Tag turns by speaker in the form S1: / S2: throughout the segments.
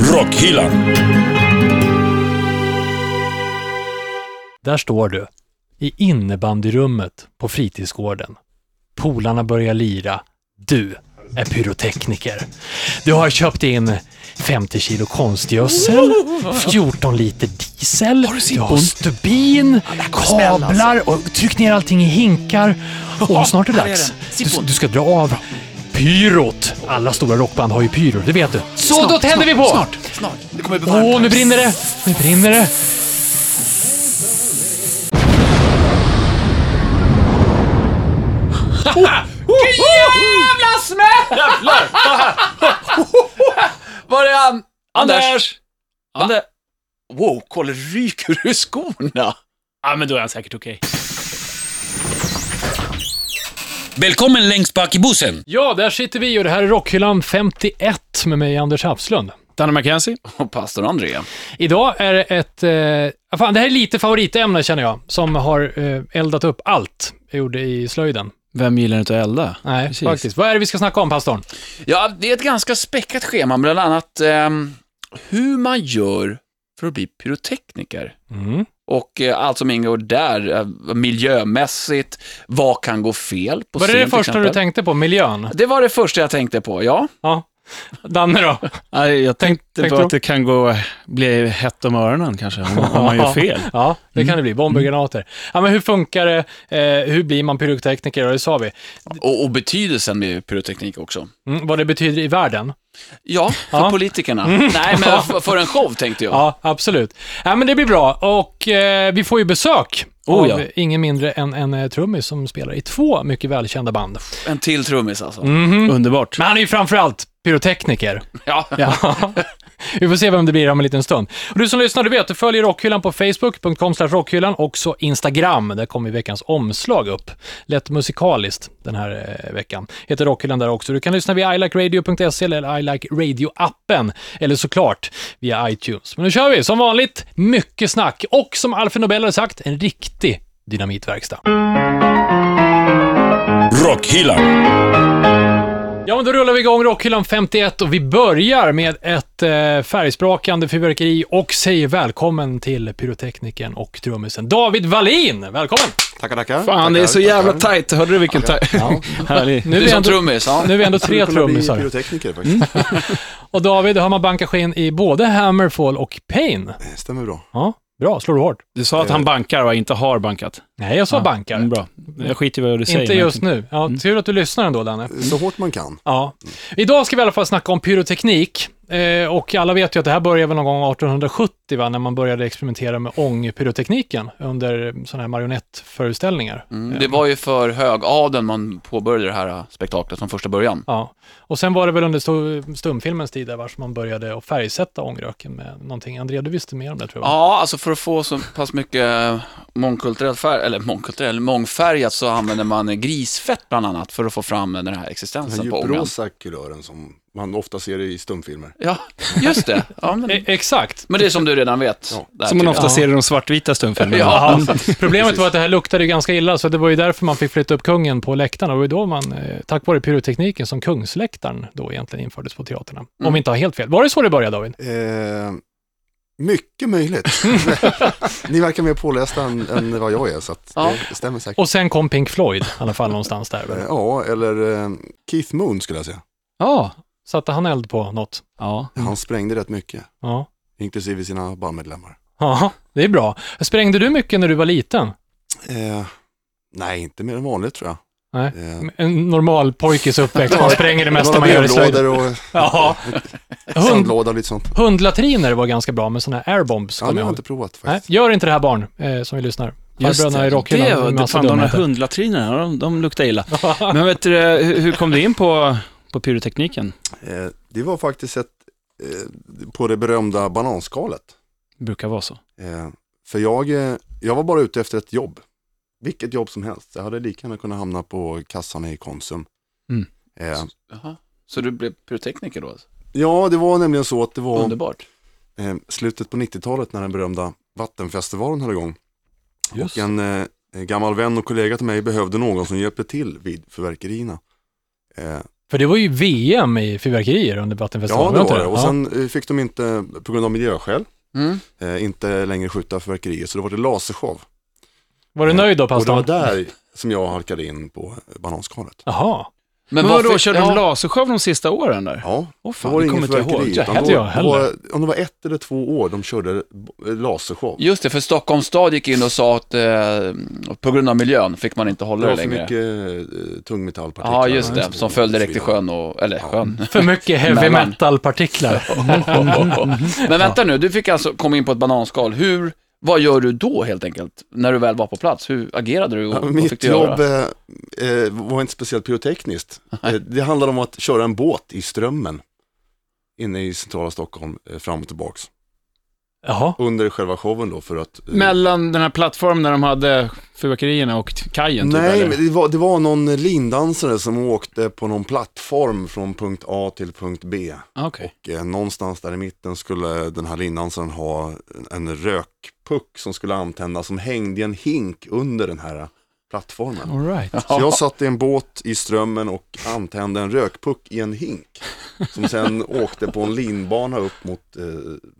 S1: Rockhyllan.
S2: Där står du, i innebandyrummet på fritidsgården. Polarna börjar lira. Du är pyrotekniker. Du har köpt in 50 kilo konstgödsel, 14 liter diesel, du har stubin, kablar och tryck ner allting i hinkar. Och snart är det
S3: här är
S2: dags.
S3: den.
S2: Du,
S3: Sippon.
S2: du ska dra av pyrot. Alla stora rockband har ju pyror, det vet du. Så då tänder vi på!
S3: Snart, snart. Det kommer bli
S2: Åh,
S3: varmt.
S2: nu brinner det! Nu brinner det!
S4: Jävla smäll! Var det han?
S3: Anders! Ander... Wow, kolla ryker ur skorna.
S4: Ja, men då är han säkert okej.
S1: Välkommen längst bak i bussen.
S2: Ja, där sitter vi och det här är Rockhyllan 51 med mig Anders Hafslund.
S4: Danne McKenzie.
S3: Och pastor André.
S2: Idag är det ett... Eh, fan, det här är lite favoritämne känner jag, som har eh, eldat upp allt jag gjorde i slöjden.
S4: Vem gillar inte att elda?
S2: Nej, faktiskt. Vad är det vi ska snacka om, pastorn?
S3: Ja, det är ett ganska späckat schema, bland annat ehm, hur man gör för att bli pyrotekniker.
S2: Mm.
S3: Och eh, allt som ingår där, eh, miljömässigt, vad kan gå fel på
S2: Var det
S3: scen,
S2: det
S3: till
S2: första du
S3: exempel?
S2: tänkte på? Miljön?
S3: Det var det första jag tänkte på, ja.
S2: Ja. Danne då?
S4: Nej, jag tänkte,
S2: tänkte
S4: på
S2: du?
S4: att det kan gå, bli hett om öronen kanske, om, om man gör fel.
S2: Ja, det kan det
S4: Mm.
S2: bli. Bomber, granater. Ja, men hur funkar det? Eh, hur blir man pyrotekniker? Ja, det sa vi.
S3: Och, och betydelsen med pyroteknik också.
S2: Mm, vad det betyder i världen?
S3: Ja, för
S2: Ja.
S3: politikerna. Nej, men f- för en show tänkte jag.
S2: Ja, absolut. Ja, men det blir bra. Och eh, vi får ju besök
S4: Oh,
S2: av
S4: ja.
S2: ingen mindre än en eh, trummis som spelar i två mycket välkända band.
S3: En till trummis alltså.
S4: Underbart.
S2: Mm. Men han är ju framförallt pyrotekniker.
S3: Ja.
S2: Vi får se vem det blir om en liten stund. Och du som lyssnar, du vet, du följer Rockhyllan på Facebook.com slash rockhyllan, också Instagram. Där kommer veckans omslag upp. Lätt musikaliskt den här eh, veckan. Heter Rockhyllan där också. Du kan lyssna via ilikeradio.se eller ilikeradio-appen. Eller såklart via iTunes. Men nu kör vi, som vanligt, mycket snack. Och som Alfred Nobel har sagt, en riktig dynamitverkstad.
S1: Rockhyllan.
S2: Ja, men då rullar vi igång Rockhyllan 51 och vi börjar med ett eh, färgsprakande fyrverkeri och säger välkommen till pyroteknikern och trummisen David Wallin. Välkommen!
S5: Tackar, tackar.
S4: Fan, det är så jävla tajt. Hörde du vilken tajt? Härlig.
S2: Nu är
S3: Du
S2: vi
S3: som
S2: ändå,
S3: trummis, ja.
S2: nu är vi ändå tre
S5: Tre
S2: trummisar.
S5: trummisar. pyrotekniker faktiskt.
S2: Och David har man bankat in i både Hammerfall och Pain.
S5: Stämmer bra.
S2: Ja, bra. Slår du hårt?
S4: Du sa att han bankar och inte har bankat.
S2: Nej, jag sa
S4: Mm,
S2: bankar.
S4: Bra. Jag skiter i vad du säger.
S2: Inte
S4: men jag
S2: just nu. Ja, tur att du lyssnar ändå, Danne.
S5: Så hårt man kan.
S2: Ja. Idag ska vi i alla fall snacka om pyroteknik. Eh, och alla vet ju att det här började väl någon gång 1870, va? när man började experimentera med ångpyrotekniken under sådana här marionettföreställningar.
S3: Mm, det var ju för högadeln man påbörjade det här eh, spektaklet från första början.
S2: Ja. Och sen var det väl under sto- stumfilmens tid där, va, som man började att färgsätta ångröken med någonting. André, du visste mer om det tror jag.
S3: Ja, alltså för att få så pass mycket eh, mångkulturell färg, eller mångkulturell, mångfärgat så använder man eh, grisfett bland annat för att få fram eh, den här
S5: Den här
S3: existensen på ångan.
S5: djuprosa kulören som man ofta ser i stumfilmer.
S3: Ja, just det. Ja, men,
S2: E- Exakt.
S3: men det är som du redan vet.
S5: Ja.
S3: där
S4: Som man
S3: tydligen.
S4: ofta ser i de svartvita stumfilmerna.
S3: Ja.
S2: Problemet var att det här luktade ju ganska illa, så det var ju därför man fick flytta upp kungen på läktarna. Det var ju då man, eh, tack vare pyrotekniken, som kungsläktaren då egentligen infördes på teaterna. Om
S3: Mm.
S2: vi inte har helt fel. Var det så det började, David?
S5: Eh, mycket möjligt. Ni verkar mer pålästa än, än vad jag är, så att
S3: Ja.
S5: det stämmer säkert.
S2: Och sen kom Pink Floyd, i alla fall någonstans där.
S5: Eh,
S2: väl?
S5: Ja, eller eh, Keith Moon skulle jag säga.
S4: Ja.
S2: Satte han eld på något?
S4: ja.
S5: Han sprängde rätt mycket,
S2: Ja.
S5: inklusive sina bandmedlemmar.
S2: Ja, det är bra. Sprängde du mycket när du var liten?
S5: Eh, nej, inte mer än vanligt tror jag.
S2: Nej.
S5: Eh,
S2: En normal pojkes uppväxt, man spränger det mesta
S5: några
S2: man gör i slöjden.
S5: brevlådor och
S2: Ja. Hund,
S5: sandlåda och lite sånt.
S2: hundlatriner var ganska bra med sådana här airbombs.
S5: Ja,
S2: kommer
S5: det har
S2: jag
S5: jag
S2: ihåg.
S5: inte provat
S2: Nej,
S5: faktiskt.
S2: gör inte det här barn eh, som vi lyssnar.
S4: Just
S2: Farbröderna i rockhyllan.
S4: det,
S2: med
S4: det
S2: massa
S4: fan de där
S2: dumheter.
S4: hundlatrinerna, de, de luktar illa. Men vet du, hur, hur kom du in på, på pyrotekniken?
S5: Eh, det var faktiskt ett, eh, på det berömda bananskalet.
S4: Det brukar vara så.
S5: Eh, för jag, eh, jag var bara ute efter ett jobb. Vilket jobb som helst. Jag hade lika gärna kunnat hamna på kassan i Konsum.
S4: Mm.
S5: Eh,
S3: Jaha. Så du blev pyrotekniker då? alltså?
S5: ja, det var nämligen så att det var
S3: Underbart.
S5: eh, slutet på 90-talet när den berömda Vattenfestivalen höll igång. Och en eh, en gammal vän och kollega till mig behövde någon som hjälpte till vid förverkerierna. Eh,
S2: För det var ju VM i fyrverkerier under
S5: Ja,
S2: Vattenfestivalen.
S5: det
S2: inte
S5: var det. Och sen eh, fick de inte, på grund av miljöskäl,
S3: Mm.
S5: eh, inte längre skjuta fyrverkerier, så det var det lasershow.
S2: ja. Var du nöjd då,
S5: Och det var
S2: pastorn?
S5: där som jag halkade in på bananskalet.
S2: Jaha.
S4: Men,
S3: vad
S4: vadå,
S3: fick-
S4: körde
S3: ja.
S4: de lasershow de sista åren där?
S5: Ja,
S4: Åh
S5: då
S4: fan,
S5: var det
S4: det
S5: ingen
S4: kommer inte jag ihåg.
S5: fyrverkeri.
S2: Det
S5: utan
S2: hade
S5: då
S2: jag heller.
S5: var- Om det var ett eller två år de körde eh, lasershow.
S3: Just det, för Stockholms stad gick in och sa att eh, på grund av miljön fick man inte
S5: Det
S3: hålla det
S5: var för
S3: längre.
S5: mycket eh, tungmetallpartiklar.
S3: Ja, just det.
S5: och så
S3: Som föll direkt i
S5: vidare.
S3: sjön och, eller
S5: Ja.
S3: sjön.
S2: För mycket heavy
S3: Mellan.
S2: metal-partiklar.
S3: Men vänta nu, du fick alltså komma in på ett bananskal. Hur, vad gör du då helt enkelt? När du väl var på plats, hur agerade du och
S5: Ja,
S3: vad fick
S5: mitt
S3: du
S5: jobb
S3: göra?
S5: eh, eh, var inte speciellt pyrotekniskt. Eh, det handlade om att köra en båt i Strömmen inne i centrala Stockholm eh, fram och tillbaks.
S2: Jaha.
S5: Under själva showen då för att... eh,
S4: Mellan den här plattformen där de hade fyrverkerierna och t- kajen typ,
S5: Nej,
S4: eller?
S5: men det var, det var någon lindansare som åkte på någon plattform från punkt A till punkt B.
S4: Ah, Okej.
S5: Eh, Någonstans där i mitten skulle den här lindansaren ha en- en rökpuck som skulle antändas som hängde i en hink under den här plattformen.
S4: All right.
S5: Så jag satt i en båt i strömmen och antände en rökpuck i en hink. Som sen åkte på en linbana upp mot, eh,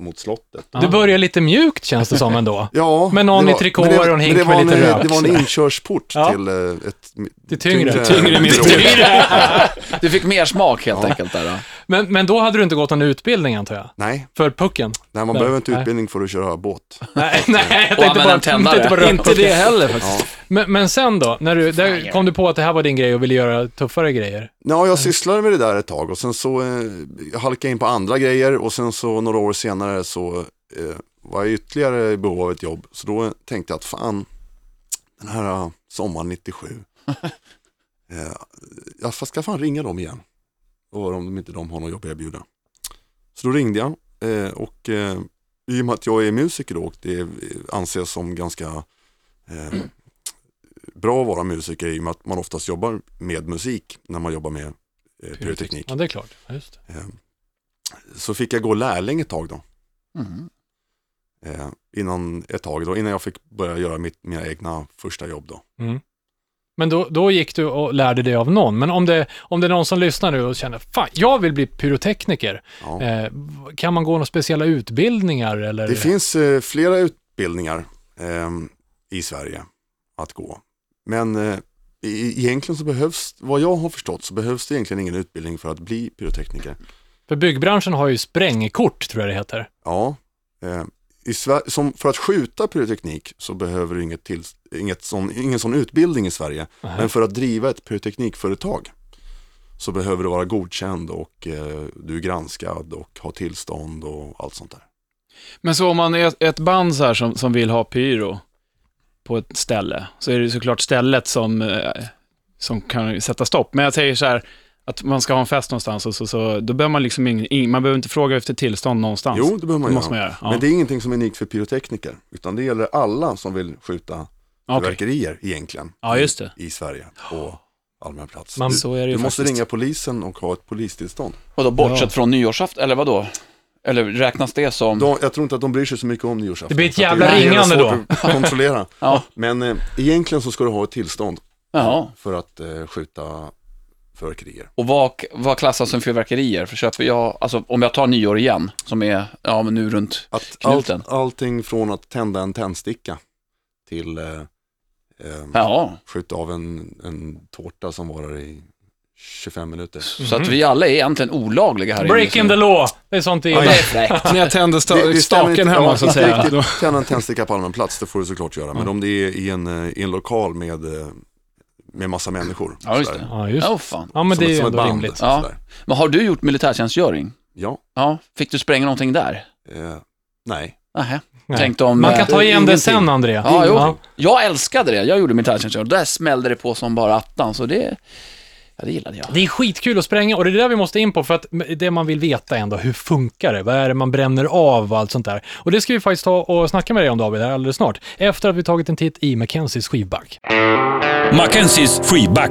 S5: mot slottet.
S2: Du börjar lite mjukt känns det som ändå.
S5: Ja,
S2: Men någon
S5: det
S2: i trikåer
S5: men det-
S2: och en hink
S5: men det
S2: med
S5: var
S2: lite
S5: en,
S2: rök,
S5: Det var en
S2: sådär.
S5: inkörsport
S2: Ja.
S5: till eh, ett
S2: Till tyngre.
S4: Tyngre mysterie.
S3: Du fick mer smak helt enkelt där. Då.
S2: Men, men då hade du inte gått någon utbildning antar jag?
S5: Nej,
S2: För pucken?
S5: nej, man
S2: Nej,
S5: behöver inte
S2: nej.
S5: utbildning för att köra båt.
S2: Nej, nej jag
S3: Och använda en
S2: tänkte bara,
S3: tändare.
S2: tänkte bara
S4: Inte det heller faktiskt.
S5: Ja.
S2: Men, men sen då, när du, där kom du på att det här var din grej och ville göra tuffare grejer?
S5: Ja, jag sysslade med det där ett tag och sen så eh, jag halkade jag in på andra grejer och sen så några år senare så eh, var jag ytterligare i behov av ett jobb. Så då tänkte jag att fan, den här eh, sommaren 97, eh, jag fa- ska fan ringa dem igen och höra om de inte de har något jobb att erbjuda. Så då ringde jag eh, och eh, i och med att jag är musiker då och det anses som ganska eh, bra att vara musiker i och med att man oftast jobbar med musik när man jobbar med eh, pyroteknik.
S2: Ja, det är klart. Just det.
S5: Eh, så fick jag gå lärling ett tag då.
S3: Mm.
S5: Eh, innan, ett tag då, innan jag fick börja göra mitt, mina egna första jobb då.
S2: Mm. Men då, då gick du och lärde dig av någon. Men om det, om det är någon som lyssnar nu och känner, fan, jag vill bli pyrotekniker.
S5: Ja.
S2: Eh, kan man gå några speciella utbildningar eller?
S5: Det finns eh, flera utbildningar eh, i Sverige att gå. Men eh, e- egentligen så behövs, vad jag har förstått, så behövs det egentligen ingen utbildning för att bli pyrotekniker.
S2: För byggbranschen har ju sprängkort, tror jag det heter.
S5: Ja, eh, i Sver- som för att skjuta pyroteknik så behöver du inget till, inget sån, ingen sån utbildning i Sverige.
S2: Nej.
S5: Men för att driva ett pyroteknikföretag så behöver du vara godkänd och eh, du är granskad och har tillstånd och allt sånt där.
S4: Men så om man är ett band så här som, som vill ha pyro på ett ställe, så är det ju såklart stället som, eh, som kan sätta stopp. Men jag säger så här, att man ska ha en fest någonstans och så, så då behöver man liksom ingen, ing, man behöver inte fråga efter tillstånd någonstans.
S5: Jo, det behöver man
S4: det
S5: göra.
S4: måste man göra. Ja.
S5: Men det är ingenting som är unikt för pyrotekniker, utan det gäller alla som vill skjuta
S4: Okej.
S5: fyrverkerier egentligen
S4: Ja, just det.
S5: i Sverige på allmän plats.
S2: Man-
S5: du
S4: Så är det
S5: du
S4: ju
S5: måste
S4: faktiskt.
S5: ringa polisen och ha ett polistillstånd.
S3: Vadå, bortsett
S4: Ja.
S3: från nyårsafton, eller vad då? Eller räknas det som...
S5: De, jag tror inte att de bryr sig så mycket om nyårsafton.
S2: Det blir ett
S5: Så att
S2: jävla
S5: är
S2: ringande
S5: svårt att kontrollera.
S3: Ja.
S5: Men eh, egentligen så ska du ha ett tillstånd
S3: Jaha.
S5: för att eh, skjuta fyrverkerier.
S3: Och vad, vad klassas som fyrverkerier? För köper jag, alltså om jag tar nyår igen, som är, ja men nu runt...
S5: Att allt,
S3: Knuten.
S5: allting från att tända en tändsticka till eh, eh,
S3: Ja,
S5: skjuta av en, en tårta som varar i 25 minuter.
S3: så att vi alla är egentligen olagliga här
S2: Breaking
S3: inne.
S2: the law! Det är sånt det
S5: Aj.
S2: är.
S4: När jag tänder sta-
S5: stämmer
S4: staken
S5: inte. Ja,
S4: hemma så att
S5: inte
S4: säga.
S5: riktigt.
S4: Då-
S5: Tända en tändsticka på allmän plats, det får du såklart göra. Men om det är i en, eh, i en lokal med, eh, med massa människor.
S3: Ja, just
S5: sådär,
S3: det.
S2: Ja, just
S3: Ja,
S2: det.
S3: oh, fan.
S2: Ja, men
S5: som
S2: det är
S5: ett-
S2: ju
S5: som ett
S2: ändå
S5: band,
S2: rimligt.
S3: Ja.
S5: sådär.
S3: Men har du gjort militärtjänstgöring?
S5: Ja,
S3: Ja, fick du spränga någonting där?
S5: eh, nej.
S3: Nähä.
S2: Nej.
S3: Tänkte om...
S2: Man
S3: eh,
S2: kan ta igen det
S5: Ingenting.
S2: sen, André.
S3: Ja, jo.
S2: Ja.
S3: Jag älskade det. Jag gjorde militärtjänstgöring. Där smällde det på som bara attan, så det... Ja, det gillade jag.
S2: Det är skitkul att spränga och det är det där vi måste in på för att det man vill veta är ändå, hur funkar det? Vad är det man bränner av och allt sånt där? Och det ska vi faktiskt ta och snacka med dig om David här alldeles snart, efter att vi tagit en titt i Mackenzies skivback.
S1: Mackenzies freeback.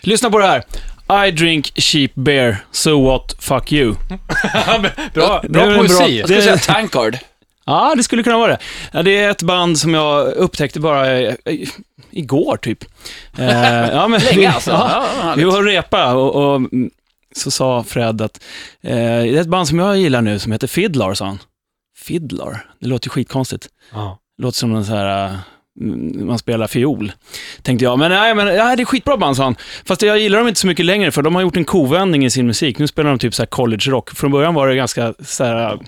S4: Lyssna på det här. I drink cheap beer, so what, fuck you.
S2: bra
S4: det är
S2: bra
S4: väl
S2: poesi!
S3: Jag ska
S4: Det-
S3: säga tankard.
S4: Ja, det skulle kunna vara det. Ja, det är ett band som jag upptäckte bara eh, i- igår typ. Eh, ja, men,
S3: Länge alltså. Ja,
S4: Vi
S3: härligt.
S4: var och repa och, och mm, så sa Fred att eh, det är ett band som jag gillar nu som heter Fiddlar, sa han. Fiddlar? Det låter ju skitkonstigt.
S2: Ja.
S4: Det låter som en så här, eh, mm, man spelar fiol, tänkte jag. Men nej, men nej, det är skitbra band, sa han. Fast jag gillar dem inte så mycket längre, för de har gjort en kovändning i sin musik. Nu spelar de typ så här college rock. Från början var det ganska så här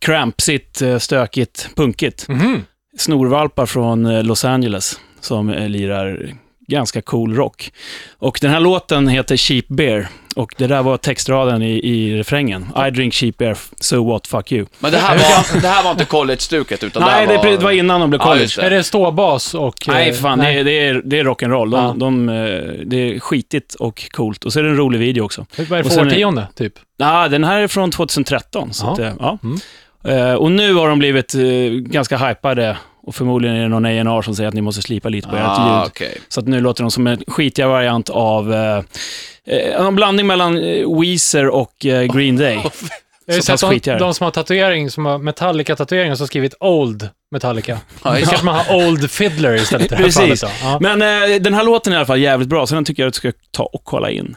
S4: krampsigt, eh, stökigt, punkigt.
S2: Mhm.
S4: Snorvalpar från eh, Los Angeles som eh, lirar ganska cool rock. Och den här låten heter Cheap Beer. Och det där var textraden i, i refrängen. I drink cheap beer, so what, fuck you.
S3: Men det här var, det här var inte college-stuket, utan
S4: Nej,
S3: det,
S4: det,
S3: här
S4: är pre- det var innan de blev
S3: Ja,
S4: college.
S3: just
S2: Är det ståbas och... eh,
S4: Nej, för fan. Det, är, det, är, det är rock'n'roll. De,
S2: Ja.
S4: de, eh, det är skitigt och coolt. Och så är det en rolig video också.
S2: Vad är det
S4: Och
S2: för
S4: sen är-
S2: årtionde, typ?
S4: Ja, den här är från 2013. Så
S2: Ja.
S4: att, eh, ja.
S2: Mm.
S4: Eh, och nu har de blivit eh, ganska hypade och förmodligen är det någon A&R som säger att ni måste slipa lite på ert
S3: Ah,
S4: ljud.
S3: okej.
S4: Så att nu låter de som en skitigare variant av eh, eh, en blandning mellan eh, Weezer och eh, Green Day.
S2: Jag har ju
S4: Så
S2: sett
S4: pass
S2: de,
S4: skitigare.
S2: de som har tatuering, som har Metallica-tatueringar, som har skrivit Old Metallica.
S3: Ja,
S2: Då
S3: just det.
S2: kanske man har Old Fiddler istället i det här
S4: Precis.
S2: fallet då. Ja.
S4: Men eh, den här låten är i alla fall jävligt bra, så den tycker jag att du ska ta och kolla in.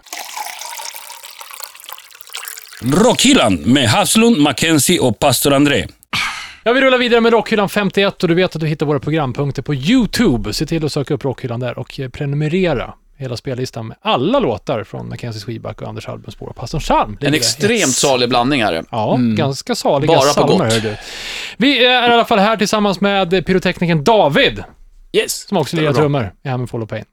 S1: Rockhyllan med Haslund, Mackenzie och pastor André.
S2: Ja, vi rullar vidare med Rockhyllan 51 och du vet att du hittar våra programpunkter på YouTube. Se till att söka upp Rockhyllan där och eh, prenumerera hela spellistan med alla låtar från Mackenzie Sweback och Anders Albensborg och Pastorn Charm. ligger
S3: En
S2: där.
S3: extremt salig blandning är det.
S2: Ja, ganska saliga
S3: Bara på
S2: psalmer,
S3: gott.
S2: hör du. Vi är i alla fall här tillsammans med pyroteknikern David,
S4: Yes!
S2: som också
S3: Det var
S2: lirar
S3: bra.
S2: trummor i Hammond Fall of Pain.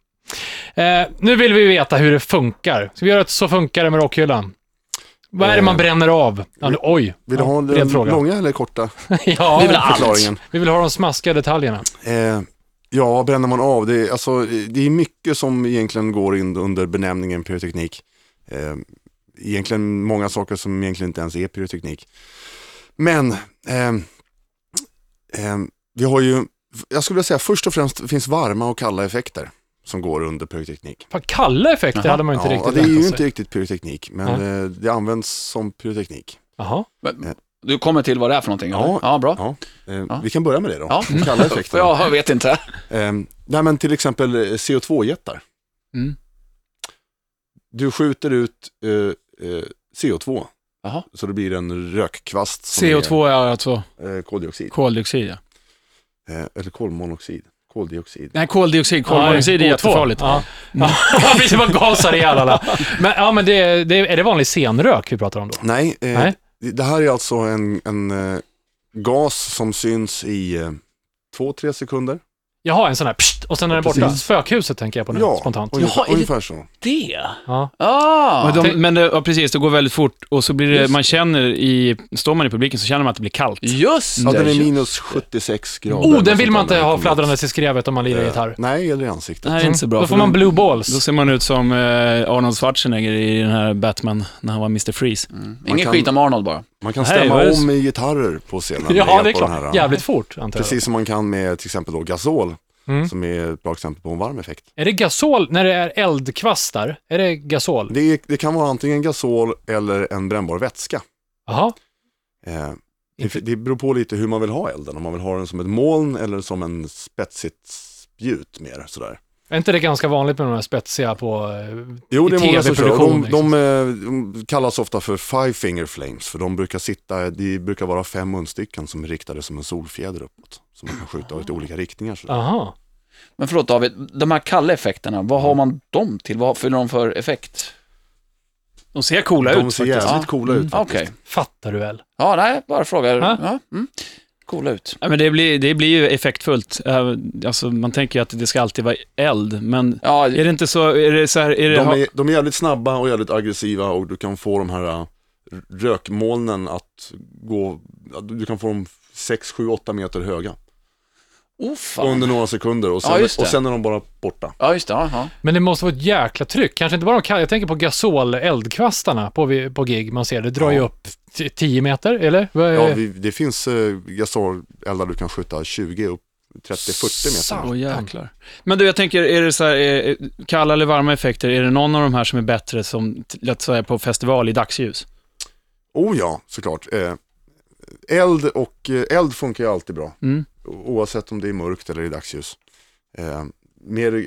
S2: Eh, nu vill vi veta hur det funkar. Ska vi göra ett Så funkar det med Rockhyllan? Vad är det man
S5: Eh,
S2: bränner av? Ja, nu, oj,
S5: Vill du ha
S2: bred
S5: den
S2: fråga.
S5: långa eller korta
S2: ja,
S3: Vi vill ha allt.
S5: förklaringen?
S2: vi vill ha de smaskiga detaljerna.
S5: Eh, ja, bränner man av, det är, alltså, det är mycket som egentligen går in under benämningen pyroteknik. Eh, egentligen många saker som egentligen inte ens är pyroteknik. Men ehm, ehm, vi har ju, jag skulle vilja säga först och främst finns varma och kalla effekter som går under pyroteknik.
S2: Fan, kalla effekter
S3: Jaha.
S2: hade man ju inte
S5: ja,
S2: riktigt
S5: det är ju
S2: väntat
S5: inte
S2: sig.
S5: riktigt pyroteknik, men eh, det används som pyroteknik.
S2: Jaha.
S3: Du kommer till vad det är för någonting?
S5: Ja.
S3: eller? ja bra.
S5: Eh,
S3: Ja.
S5: Vi kan börja med det då,
S3: Ja.
S5: kalla effekter.
S3: Ja, jag vet inte.
S5: Ehm, nej men till exempel eh, CO2-jättar.
S4: Mm.
S5: Du skjuter ut eh, eh, CO2,
S3: Jaha.
S5: så det blir en rökkvast som
S4: CO2 är alltså
S5: är eh, koldioxid,
S4: koldioxid, ja.
S5: eh, eller kolmonoxid, koldioxid.
S4: Nej, koldioxid. Koldioxid är
S2: O2.
S4: jättefarligt.
S2: Ja. Ja, precis, man gasar ihjäl alla. Men, ja, men det, det, är det vanlig scenrök vi pratar om då?
S5: Nej, eh,
S2: Nej.
S5: det- det här är alltså en, en eh, gas som syns i eh, två, tre sekunder.
S2: Jaha, en sån här pst, och sen är den borta.
S5: Precis.
S2: Spökhuset tänker jag på nu, spontant.
S5: ungefär,
S3: Jaha, är det-
S5: ungefär så.
S3: Det?
S2: Ja.
S3: Ah.
S4: Men, de,
S2: Tänk-
S4: men det, ja, precis, det går väldigt fort och så blir det, man känner i, står man i publiken så känner man att det blir kallt.
S3: Just det.
S5: Ja, den är
S3: Mm. just
S5: minus 76 grader.
S2: Oh,
S5: eller
S2: den vill
S5: sånt
S2: man inte
S5: där
S2: ha
S5: när den kommer ut.
S2: fladdrandes i skrevet om man lirar
S5: Eh,
S2: gitarr.
S5: Nej, eller i ansiktet.
S4: Det här är inte så bra.
S2: Då
S4: för
S2: får man
S4: då-
S2: blue
S4: Då
S2: balls.
S4: ser man ut som eh, Arnold Schwarzenegger i den här Batman, när han var Mr. Freeze.
S3: det. Mm.
S5: Man
S3: Ingen
S5: kan-
S3: skit om Arnold bara.
S5: Man kan
S4: Nej,
S5: stämma
S4: vad är det
S5: om i gitarrer på scenen.
S2: Ja,
S5: med hjälp
S2: det är
S5: av den
S2: klart.
S5: här-
S2: Jävligt fort, antar jag.
S5: Precis som man kan med till exempel då gasol,
S2: Mm.
S5: som är ett bra exempel på en varm effekt.
S2: Är det gasol, när det är eldkvastar, är det gasol?
S5: Det, är, det kan vara antingen gasol eller en brännbar vätska.
S2: Jaha.
S5: Eh, det, det beror på lite hur man vill ha elden, om man vill ha den som ett moln eller som en spetsigt spjut mer sådär.
S2: Är inte det ganska vanligt med de här spetsiga på... eh,
S5: Jo, det
S2: I
S5: är många som kör.
S2: TV-produktion, liksom.
S5: De, de, eh, de kallas ofta för five finger flames, för de brukar sitta, det brukar vara fem munstycken som är riktade som en solfjäder uppåt, som man kan skjuta åt olika riktningar. Sådär.
S2: Aha.
S3: Men förlåt David, de här kalla effekterna, vad har man dem till? Vad fyller de för effekt?
S4: De ser coola ut
S5: De ser
S4: faktiskt.
S5: jävligt
S3: Ja.
S5: coola ut faktiskt.
S3: Okej.
S2: Fattar du väl?
S3: Ja, nej, bara frågar.
S2: Ja.
S3: Ja. Mm. Coola ut.
S4: Ja, men det, blir, det blir ju effektfullt. Eh, Alltså, man tänker ju att det ska alltid vara eld, men
S3: Ja,
S4: är det inte så, är det så här, är det,
S5: De är, de är jävligt snabba och jävligt aggressiva och du kan få de här äh, rökmolnen att gå, ja, du kan få dem 6, 7, 8 meter höga.
S3: oh, fan.
S5: Under några sekunder och sen,
S3: Ja, just det.
S5: och sen är de bara borta.
S3: Ja, just det. Ja, ja.
S2: Men det måste vara ett jäkla tryck. Kanske inte bara de kall- Jag tänker på gasol-eldkvastarna på, vi- på gig man ser. Det drar ju
S5: Ja.
S2: upp t- 10 meter, eller? Vad är-
S5: Ja, vi, det finns äh, gasoleldar du kan skjuta 20 upp 30-40 meter.
S2: Satan.
S4: Åh jäklar. Men du, jag tänker, är det så här, är, kalla eller varma effekter, är det någon av de här som är bättre som, t- låt säga, på festival i dagsljus?
S5: Oh ja, såklart. Eh, eld och eh, eld funkar ju alltid bra.
S4: Mm.
S5: O- Oavsett om det är mörkt eller i dagsljus. Eh, mer eh,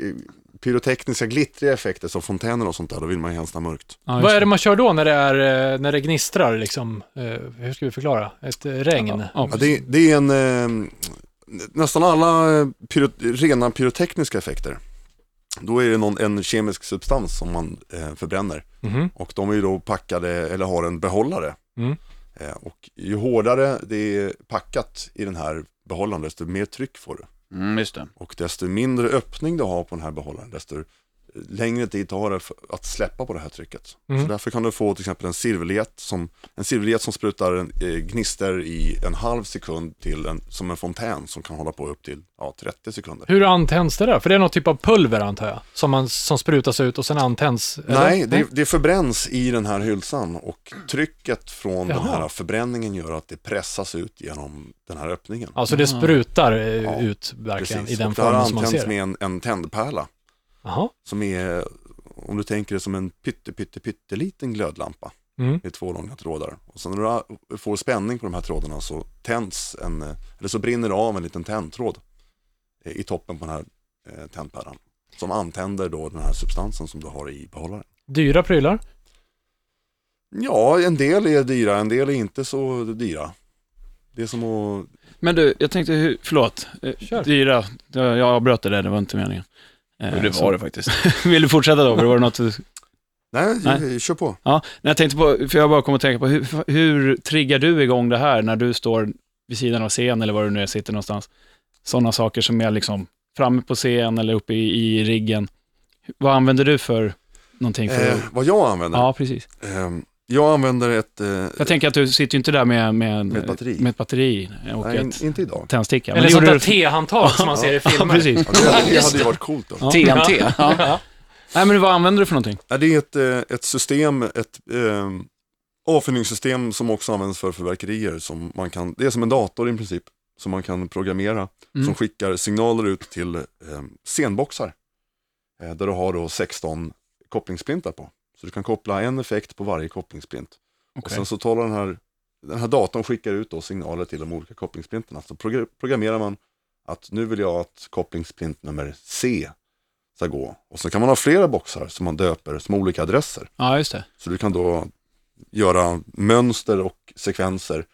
S5: pyrotekniska glittriga effekter som fontäner och sånt där, då vill man ju helst ha mörkt.
S2: Vad är det man kör då när det, är, eh, när det gnistrar liksom? Eh, Hur ska vi förklara? Ett eh, regn?
S4: Ja,
S5: Ja, det, det är en, eh, nästan alla eh, pyro, rena pyrotekniska effekter. Då är det någon, en kemisk substans som man eh, förbränner.
S2: Mhm.
S5: Och de är ju då packade, eller har en behållare.
S2: Mm.
S5: Eh, och ju hårdare det är packat i den här behållaren, desto mer tryck får du.
S3: Mm, just det.
S5: Och desto mindre öppning du har på den här behållaren, desto längre tid tar det för att släppa på det här trycket.
S2: Mm.
S5: Så därför kan du få till exempel en silverlet som, en silverlet som sprutar en, eh, gnister i en halv sekund till en, som en fontän som kan hålla på upp till ja, 30 sekunder.
S2: Hur antänds det där? För det är någon typ av pulver antar jag, som, man, som sprutas ut och sen antänds? eller?
S5: Nej, det, det förbränns i den här hylsan och trycket från den
S2: Jaha.
S5: här förbränningen gör att det pressas ut genom den här öppningen.
S2: Alltså det sprutar eh,
S5: Ja,
S2: ut verkligen i den
S5: och det här
S2: formen som man ser
S5: antänds
S2: det?
S5: med en, en tändpärla
S2: Jaha.
S5: som är, om du tänker det som en pytte, pytte, pytteliten glödlampa.
S2: Mm.
S5: Det är två långa trådar. Och sen när du får spänning på de här trådarna så tänds en, eh, eller så brinner det av en liten tändtråd eh, i toppen på den här eh, tändpärlan. Som antänder då den här substansen som du har i behållaren.
S2: Dyra prylar?
S5: Ja, en del är dyra, en del är inte så dyra. Det är som att,
S4: Men du, jag tänkte, hur, förlåt, eh,
S2: Kör.
S4: dyra, jag, jag avbröt det där, det var inte meningen. Eh,
S3: det
S4: så-
S3: var det faktiskt.
S4: Vill du fortsätta då? Var det något du...
S5: nej,
S4: Nej.
S5: kör på.
S4: Ja, nej, jag tänkte på, för jag bara kom att tänka på, hur, hur triggar du igång det här när du står vid sidan av scen eller var du nu är, sitter någonstans? Sådana saker som är liksom framme på scen eller uppe i, i riggen. Vad använder du för någonting? För
S5: Eh, vad jag använder?
S4: Ja, precis.
S5: Ehm, jag använder ett... eh,
S4: Jag tänker att du sitter ju inte där med, med,
S5: Med ett batteri.
S4: med ett batteri och
S5: nej,
S4: ett
S5: inte idag.
S4: tändsticka. Men
S2: Eller
S4: det
S2: sånt
S4: gjorde
S2: där
S4: du-
S2: tehandtag som man ser i
S4: Ja,
S2: filmer?
S4: precis.
S5: Ja, det, det hade ju varit coolt. Då.
S4: Ja.
S3: TNT. Ja.
S2: Ja.
S4: Nej, men vad använder du för någonting?
S5: Ja, Det är ett, eh, ett system, ett eh, avfyllningssystem som också används för förverkerier. Som man kan, det är som en dator i princip, som man kan programmera.
S4: Mm.
S5: Som skickar signaler ut till eh, scenboxar. Eh, där du har då 16 kopplingssplintar på. Så du kan koppla en effekt på varje kopplingssplint. Och
S4: Okej.
S5: sen så talar den här, den här datorn skickar ut då signaler till de olika kopplingssplinterna. Så progr- programmerar man att nu vill jag att kopplingssplint nummer C ska gå. Och så kan man ha flera boxar som man döper som olika adresser.
S4: Ja, just det.
S5: Så du kan då göra mönster och sekvenser.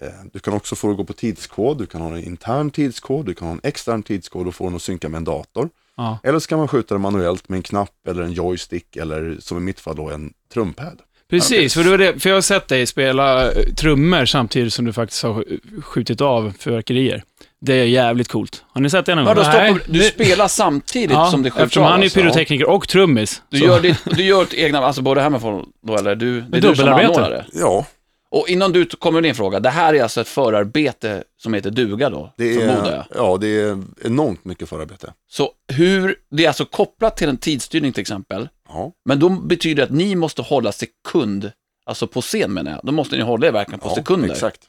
S5: Eh, Du kan också få det att gå på tidskod, du kan ha en intern tidskod, du kan ha en extern tidskod och få den att synka med en dator.
S4: Ja.
S5: Eller så kan man skjuta det manuellt med en knapp eller en joystick eller som i mitt fall då en trumpad.
S4: Precis, för, det var det, för jag har sett dig spela eh, trummor samtidigt som du faktiskt har sk- skjutit av fyrverkerier. Det är jävligt coolt. Har ni sett det någon
S3: Vadå,
S4: gång?
S2: Nej,
S3: stopp, du
S2: det-
S3: spelar samtidigt som det skjuts
S4: eftersom
S3: av,
S4: han är
S3: alltså.
S4: pyrotekniker och trummis.
S3: Du
S4: så-
S3: gör, ditt, du gör ditt egna, alltså både Hammerfall då eller du, det är du som
S2: dubbelarbete.
S3: anordnar det.
S5: Ja,
S3: Och innan du t- kommer med din fråga, det här är alltså ett förarbete som heter duga då,
S5: det
S3: förmodar
S5: är,
S3: jag.
S5: ja, det är enormt mycket förarbete.
S3: Så hur, det är alltså kopplat till en tidsstyrning till exempel,
S5: Ja.
S3: men då betyder det att ni måste hålla sekund, alltså på scen menar jag, då måste ni hålla er verkligen på
S5: Ja,
S3: sekunder.
S5: Exakt.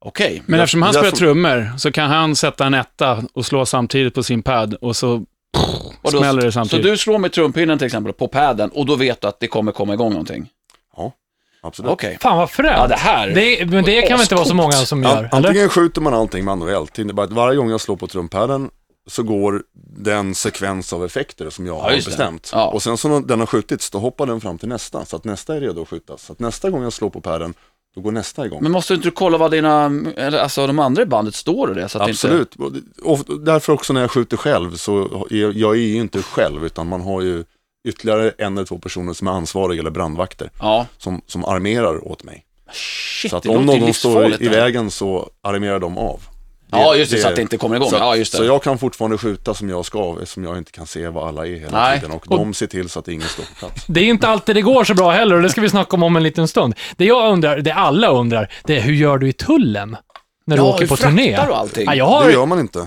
S3: Okej,
S4: Men eftersom han spelar
S5: därför-
S4: trummor så kan han sätta en etta och slå samtidigt på sin pad och så
S3: Och då-
S4: smäller
S3: så
S4: det samtidigt.
S3: du slår med trumpinnen till exempel på padden och då vet du att det kommer komma igång någonting.
S5: Absolut.
S3: Okej.
S2: Fan vad
S3: Ja,
S2: fränt.
S3: det här.
S2: det, men det kan väl inte vara så
S3: Ascoolt.
S2: många som
S5: An-
S2: gör? Eller?
S5: antingen skjuter man allting manuellt, det innebär att varje gång jag slår på trumpaden så går den sekvens av effekter som jag har
S3: just det.
S5: bestämt.
S3: Ja.
S5: Och sen så när den har skjutits, då hoppar den fram till nästa, så att nästa är redo att skjutas. Så att nästa gång jag slår på padden, då går nästa igång.
S3: Men måste inte du kolla vad dina, eller alltså de andra i bandet står och det? Så att det Inte...
S5: Absolut, och det- och därför också när jag skjuter själv så är jag är ju inte själv utan man har ju ytterligare en eller två personer som är ansvariga eller brandvakter
S3: Ja.
S5: som, som armerar åt mig.
S3: Shit,
S5: så att
S3: det låter
S5: om
S3: ju
S5: någon står
S3: livsfarligt
S5: i
S3: det här.
S5: vägen så armerar de av.
S3: Ja, just det, så att det inte kommer igång.
S5: Så,
S3: ja, just det.
S5: så jag kan fortfarande skjuta som jag ska eftersom jag inte kan se vad alla är hela
S3: Nej.
S5: tiden. Och, de ser till så att ingen står på plats.
S2: Det är inte alltid det går så bra heller och det ska vi snacka om om en liten stund. Det jag undrar, det alla undrar, det är hur gör du i tullen? När du
S3: Ja,
S2: åker
S3: hur
S2: på turné?
S3: fraktar du allting?
S2: Ja, jag,
S5: Det
S2: har,
S5: gör man inte.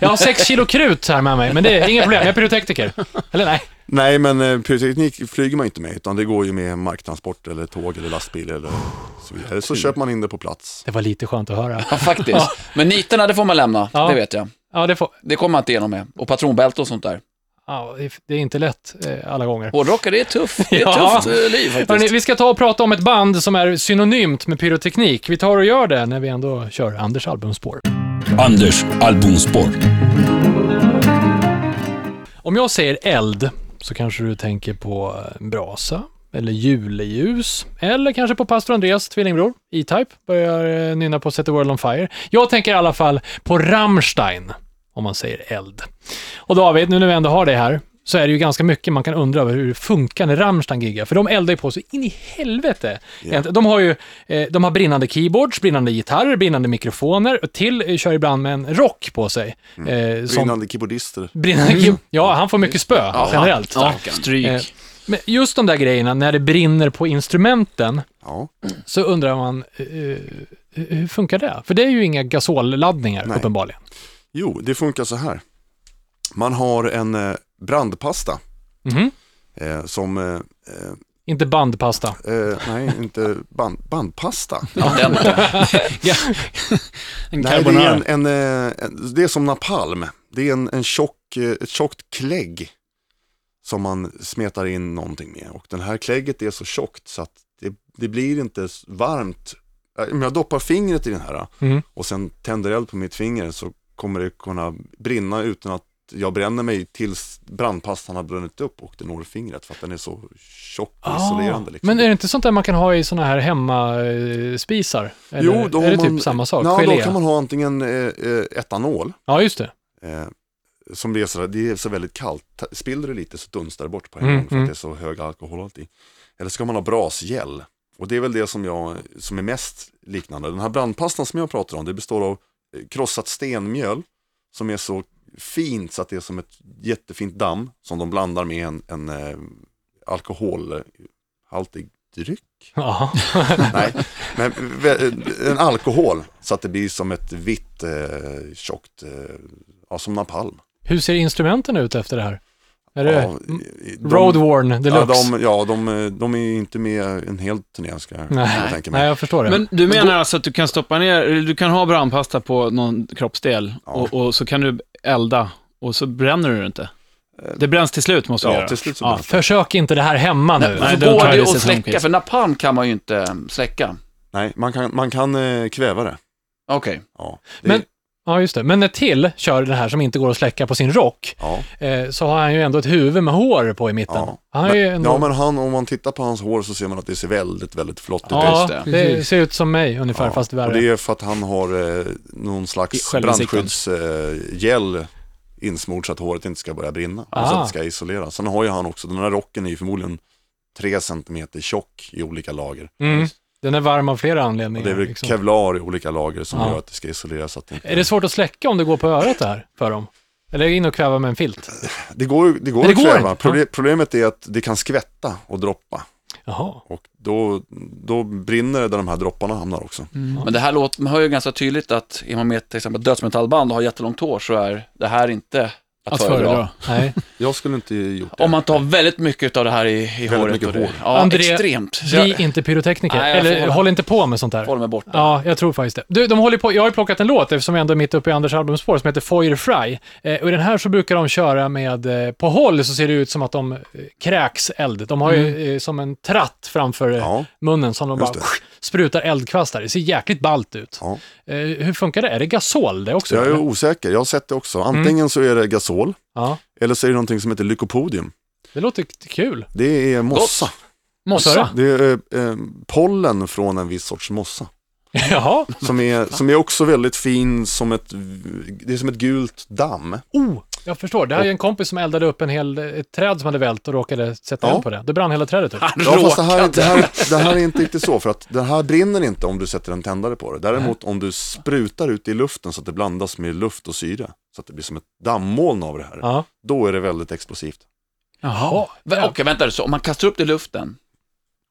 S2: jag har sex kilo krut här med mig, men det är inga problem. Jag är pyrotekniker. Eller nej.
S5: Nej, men eh, pyroteknik flyger man inte med utan det går ju med marktransport eller tåg eller lastbil eller så vidare. Så köper man in det på plats.
S2: Det var lite skönt att höra.
S3: Ja, faktiskt. Men niterna, det får man lämna.
S2: Ja.
S3: Det vet jag.
S2: Ja, det får...
S3: Det kommer man inte igenom med. Och patronbälte och sånt där.
S2: ja, det- det är inte lätt eh, alla gånger.
S3: Hårdrockare, det är tufft. Det är ett
S2: Ja.
S3: tufft eh, liv faktiskt.
S2: Hörrni, vi ska ta och prata om ett band som är synonymt med pyroteknik. Vi tar och gör det när vi ändå kör Anders albumspår.
S1: Anders albumspår.
S2: Om jag säger eld så kanske du tänker på eh, brasa eller juleljus eller kanske på pastor Andreas tvillingbror, E-Type, börjar eh, nynna på Set the World on Fire. Jag tänker i alla fall på Rammstein, om man säger eld. Och David, nu när vi ändå har dig här, så är det ju ganska mycket man kan undra över hur det funkar när Rammstein giggar, för de eldar ju på så in i helvete. De har ju eh, de har brinnande keyboards, brinnande gitarrer, brinnande mikrofoner och till eh, kör ibland med en rock på sig. eh, som-
S5: Brinnande keyboardister.
S2: Brinnande kniv. Ja, han får mycket spö generellt.
S4: Stryk.
S2: Eh, Men just de där grejerna, när det brinner på instrumenten,
S5: Ja.
S2: så undrar man, eh, hur funkar det? För det är ju inga gasolladdningar
S5: Nej.
S2: uppenbarligen.
S5: Jo, det funkar så här. Man har en eh, brandpasta
S2: Mhm.
S5: eh, som, eh, eh,
S2: Inte bandpasta.
S5: eh, nej inte band, bandpasta.
S3: Ja, den,
S4: En
S5: Nej, det, är
S4: carbonara.
S5: en, en, eh, en, det är som napalm. Det är en, en tjock, eh, ett tjockt klägg som man smetar in någonting med. Och den här klägget är så tjockt så att det, det blir inte s- varmt. Eh, Om jag doppar fingret i den här
S2: Mm.
S5: och sen tänder eld på mitt finger så kommer det kunna brinna utan att jag bränner mig tills brandpastan har brunnit upp och det når fingret för att den är så tjock och isolerande. Liksom.
S2: Ah. Men är det inte sånt där man kan ha i såna här hemmaspisar? Eller,
S5: Jo, då har
S2: är det typ
S5: man-
S2: samma sak?
S5: Ja,
S2: Gelé?
S5: då kan man ha antingen eh, eh, etanol
S2: Ja, just det.
S5: eh, som blir sådär, det är så väldigt kallt. Ta- Spiller du lite så dunstar det bort på en
S2: Mm,
S5: gång för
S2: mm.
S5: att det är så hög alkoholhalt i. Eller ska man ha brasgäll? Och det är väl det som, jag, som är mest liknande. Den här brandpastan som jag pratar om, det består av eh, krossat stenmjöl som är så fint så att det är som ett jättefint damm som de blandar med en, en eh, alkoholhaltig dryck.
S2: Ja.
S5: Nej, men vä- en alkohol så att det blir som ett vitt eh, tjockt, eh, ja som napalm.
S2: hur ser instrumenten ut efter det här? Är det
S5: Ja, de-
S2: road worn
S5: Ja,
S2: deluxe?
S5: de, ja de, de är ju inte med en hel turné ska jag
S2: Nej.
S5: tänka mig.
S2: Nej, jag förstår det.
S4: Men du menar alltså att du kan stoppa ner, eller du kan ha brandpasta på någon kroppsdel
S5: Ja.
S4: och, och så kan du elda och så bränner du det inte. Det bränns till slut måste du
S5: ja,
S4: göra.
S5: till slut så
S4: Ja,
S5: blir det.
S2: Försök inte det här hemma nu. Alltså,
S4: Nej,
S3: så
S4: don't
S3: går
S4: try
S3: det att
S4: this at home,
S3: Alltså, släcka,
S4: kids.
S3: för napalm kan man ju inte eh, släcka.
S5: Nej, man kan, man kan eh, kväva det.
S3: Okej.
S5: Ja, det
S2: Men, ja, just det. Men när Till kör den här som inte går att släcka på sin rock,
S5: ja,
S2: eh, så har han ju ändå ett huvud med hår på i mitten.
S5: ja.
S2: Han är
S5: men,
S2: ju ändå...
S5: ja, men han, om man tittar på hans hår så ser man att det ser väldigt, väldigt flott ut.
S3: Ja,
S2: Ja,
S3: just
S2: det.
S4: det.
S2: ser ut som mig ungefär,
S5: Ja,
S2: fast
S5: och
S2: värre.
S5: det är för att han har eh, någon
S4: I
S5: slags
S4: självinsikten.
S5: brandskyddsgel eh, insmord så att håret inte ska börja brinna.
S2: Ah.
S5: Och så att det ska isoleras. Sen har ju han också, den här rocken är ju förmodligen tre centimeter tjock i olika lager.
S2: Mm. Den är varm av flera
S5: Och
S2: anledningar.
S5: det är väl
S2: liksom.
S5: kevlar i olika lager som
S2: Ja.
S5: gör att det ska isoleras. Så att det, inte...
S2: Är det svårt att släcka om det går på örat det här, för dem? Eller in och kväva med en filt?
S5: Det går, det går
S2: Men det
S5: att
S2: går
S5: kväva.
S2: inte.
S5: Proble- Problemet är att det kan skvätta och droppa.
S2: Jaha.
S5: Och då, då brinner det där de här dropparna hamnar också.
S3: Men det här låter, man hör ju ganska tydligt att är man med ett till exempel dödsmetallband och har jättelångt hår så är det här inte att,
S4: Att
S3: föredra.
S4: föredra.
S2: Nej.
S5: Jag skulle inte gjort det.
S3: Om man tar väldigt mycket av det här i, i håret.
S5: mycket
S3: och det-
S5: hår.
S3: Ja,
S2: André,
S3: extremt. Så
S2: Bli
S3: jag
S2: inte pyrotekniker.
S3: Nej, jag får
S2: Eller
S3: hålla-
S2: håll inte på med sånt där.
S3: håller mig borta.
S2: Ja, jag tror faktiskt det. Du, de håller på, jag har ju plockat en låt eftersom jag ändå är mitt uppe i Anders albumspår som heter Foyer Fry. Eh, och i den här så brukar de köra med, eh, på håll så ser det ut som att de eh, kräks eld. De har ju eh, som en tratt framför eh,
S5: Mm. Ja.
S2: munnen som de bara
S5: Just det.
S2: sprutar eldkvastar. Det ser jäkligt ballt ut.
S5: Ja.
S2: Eh, hur funkar det? Är det gasol det också?
S5: Jag är
S2: eller?
S5: osäker, jag har sett det också.
S2: Mm.
S5: Antingen så är det gasol,
S2: Ja,
S5: eller så är det någonting som heter lycopodium.
S2: det låter k- kul.
S5: Det är mossa.
S2: Mossa?
S5: Det är eh, eh, pollen från en viss sorts mossa.
S2: Jaha.
S5: Som är, som är också väldigt fin, som ett, det är som ett gult damm.
S2: Oh, jag förstår. Det här är ju en kompis som eldade upp en hel, eh, ett träd som hade vält och råkade sätta
S5: Ja.
S2: eld på det. Det brann hela trädet upp.
S5: Ja, fast det här, det, här, det här är inte riktigt så, för att det här brinner inte om du sätter en tändare på det. Däremot om du sprutar ut i luften så att det blandas med luft och syre, så att det blir som ett dammoln av det här,
S2: Ja.
S5: då är det väldigt explosivt.
S2: Jaha.
S3: Vä- Okej, vänta. Så om man kastar upp det i luften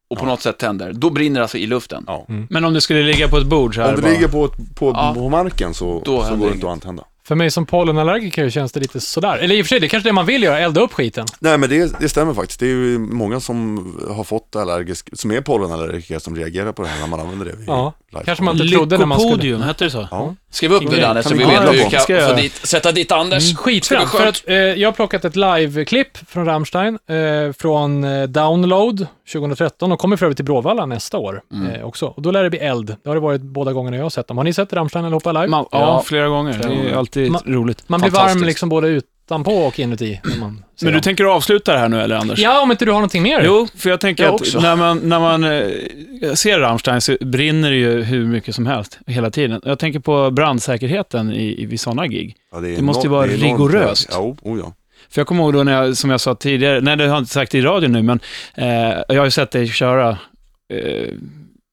S3: och på något sätt tänder, då brinner det alltså i luften.
S5: Ja.
S4: Men om du skulle ligga på ett bord så här
S5: Om det
S4: bara.
S5: ligger på, ett- på,
S3: Ja.
S5: på marken så,
S3: Då
S5: så
S3: händer
S5: går det
S3: inget.
S5: inte att antända.
S2: För mig som pollenallergiker känns det lite sådär. Eller i och för sig, det är kanske det man vill göra, elda upp skiten.
S5: Nej men det, det stämmer faktiskt. Det är ju många som har fått allergisk, som är pollenallergiker som reagerar på det här när man använder det. vid
S2: Ja,
S5: live.
S2: kanske man inte trodde när man skulle...
S4: Lyckopodium, hette det så?
S5: Ja.
S3: Skriv upp det
S4: Ingen-
S3: Danne, så
S5: kan
S3: vi
S5: vi
S3: vet
S5: kolla
S3: hur vi
S5: på?
S3: kan
S4: Ska jag
S3: få
S4: göra?
S3: dit, sätta dit Anders.
S2: Mm. Skitfränt,
S3: Ska
S2: för
S3: vi-
S2: att eh, jag har plockat ett live-klipp från Rammstein eh, från eh, Download 2013. De kommer för övrigt till Bråvalla nästa år
S4: Mm.
S2: eh, också. Och då lär det bli eld. Det har det varit båda gångerna jag har sett dem. Har ni sett Rammstein eller Hoppa live?
S4: Man, ja,
S3: Ja.
S4: flera gånger.
S3: Flera
S4: det är
S3: gånger.
S4: alltid
S2: Man-
S4: roligt.
S2: man blir
S3: fantastiskt.
S2: varm liksom både utanpå och inuti. När man ser
S4: Men du
S2: dem.
S4: tänker avsluta det här nu eller Anders?
S2: Ja, om inte du har någonting mer?
S4: Jo, för jag tänker
S3: Jag
S4: att
S3: också.
S4: när man, när man eh, ser Rammstein så brinner det ju hur mycket som helst hela tiden. Jag tänker på brandsäkerheten i, i, vid sådana gig.
S5: Ja, det, är
S4: Det måste ju
S5: enormt-
S4: vara
S5: det är enormt
S4: rigoröst.
S5: hög. Ja, o- oh, ja.
S4: För jag kommer ihåg då när jag, som jag sa tidigare, nej det har jag inte sagt i radio nu, men eh, jag har ju sett dig köra eh,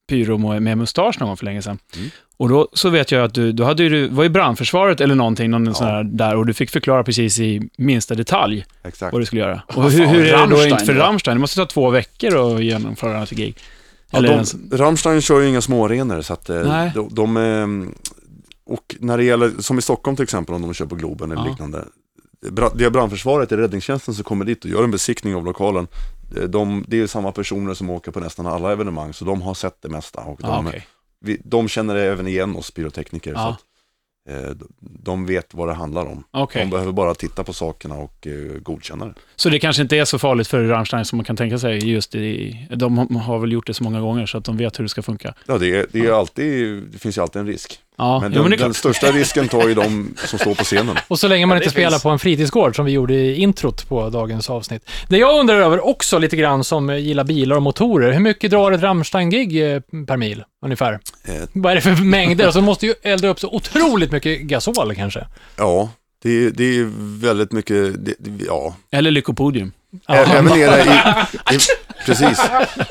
S4: pyro med med mustasch någon gång för länge sedan.
S5: Mm.
S4: Och då så vet jag att du, då hade ju, du var ju brandförsvaret eller någonting, någon sån här där, och du fick förklara precis i minsta detalj
S5: Exakt.
S4: vad du skulle göra. Och hur, hur är det då
S3: Rammstein
S4: inte för
S3: då?
S4: Rammstein? Det måste ta två veckor att genomföra ett gig.
S5: Ja,
S4: Eller
S5: de,
S4: ens-
S5: Rammstein kör ju inga småarenor så att eh,
S4: Nej.
S5: de, de ehm, och när det gäller, som i Stockholm till exempel om de kör på Globen eller
S4: Ja.
S5: liknande. bra- Det är brandförsvaret, det är räddningstjänsten som kommer dit och gör en besiktning av lokalen. Eh, De, det är samma personer som åker på nästan alla evenemang så de har sett det mesta och de,
S4: Ja, okej.
S5: vi, de känner även igen oss pyrotekniker. Så
S4: Ja.
S5: att, eh, de- de vet vad det handlar om.
S4: Okej.
S5: De behöver bara titta på sakerna och eh, godkänna det.
S4: Så det kanske inte är så farligt för Rammstein som man kan tänka sig just i... De har väl gjort det så många gånger så att de vet hur det ska funka.
S5: Ja, det, är, det, är alltid, det finns ju alltid en risk.
S4: Ja,
S5: Men,
S4: jo,
S5: den,
S4: men det
S5: den
S4: är klart.
S5: största risken tar ju de som står på scenen.
S2: Och så länge man inte
S3: det
S2: spelar
S3: finns.
S2: på en fritidsgård som vi gjorde i introt på dagens avsnitt. Det jag undrar över också lite grann som eh, gillar bilar och motorer, hur mycket drar ett Rammstein-gig eh, per mil ungefär?
S5: Eh.
S2: Vad är det för mängder? Alltså, de måste ju elda upp så otroligt mycket gasol kanske.
S5: Ja, det, är- det är väldigt mycket, det, det, ja.
S4: Eller Lyckopodium.
S2: Ja.
S5: Ä- Även är det i, i, precis.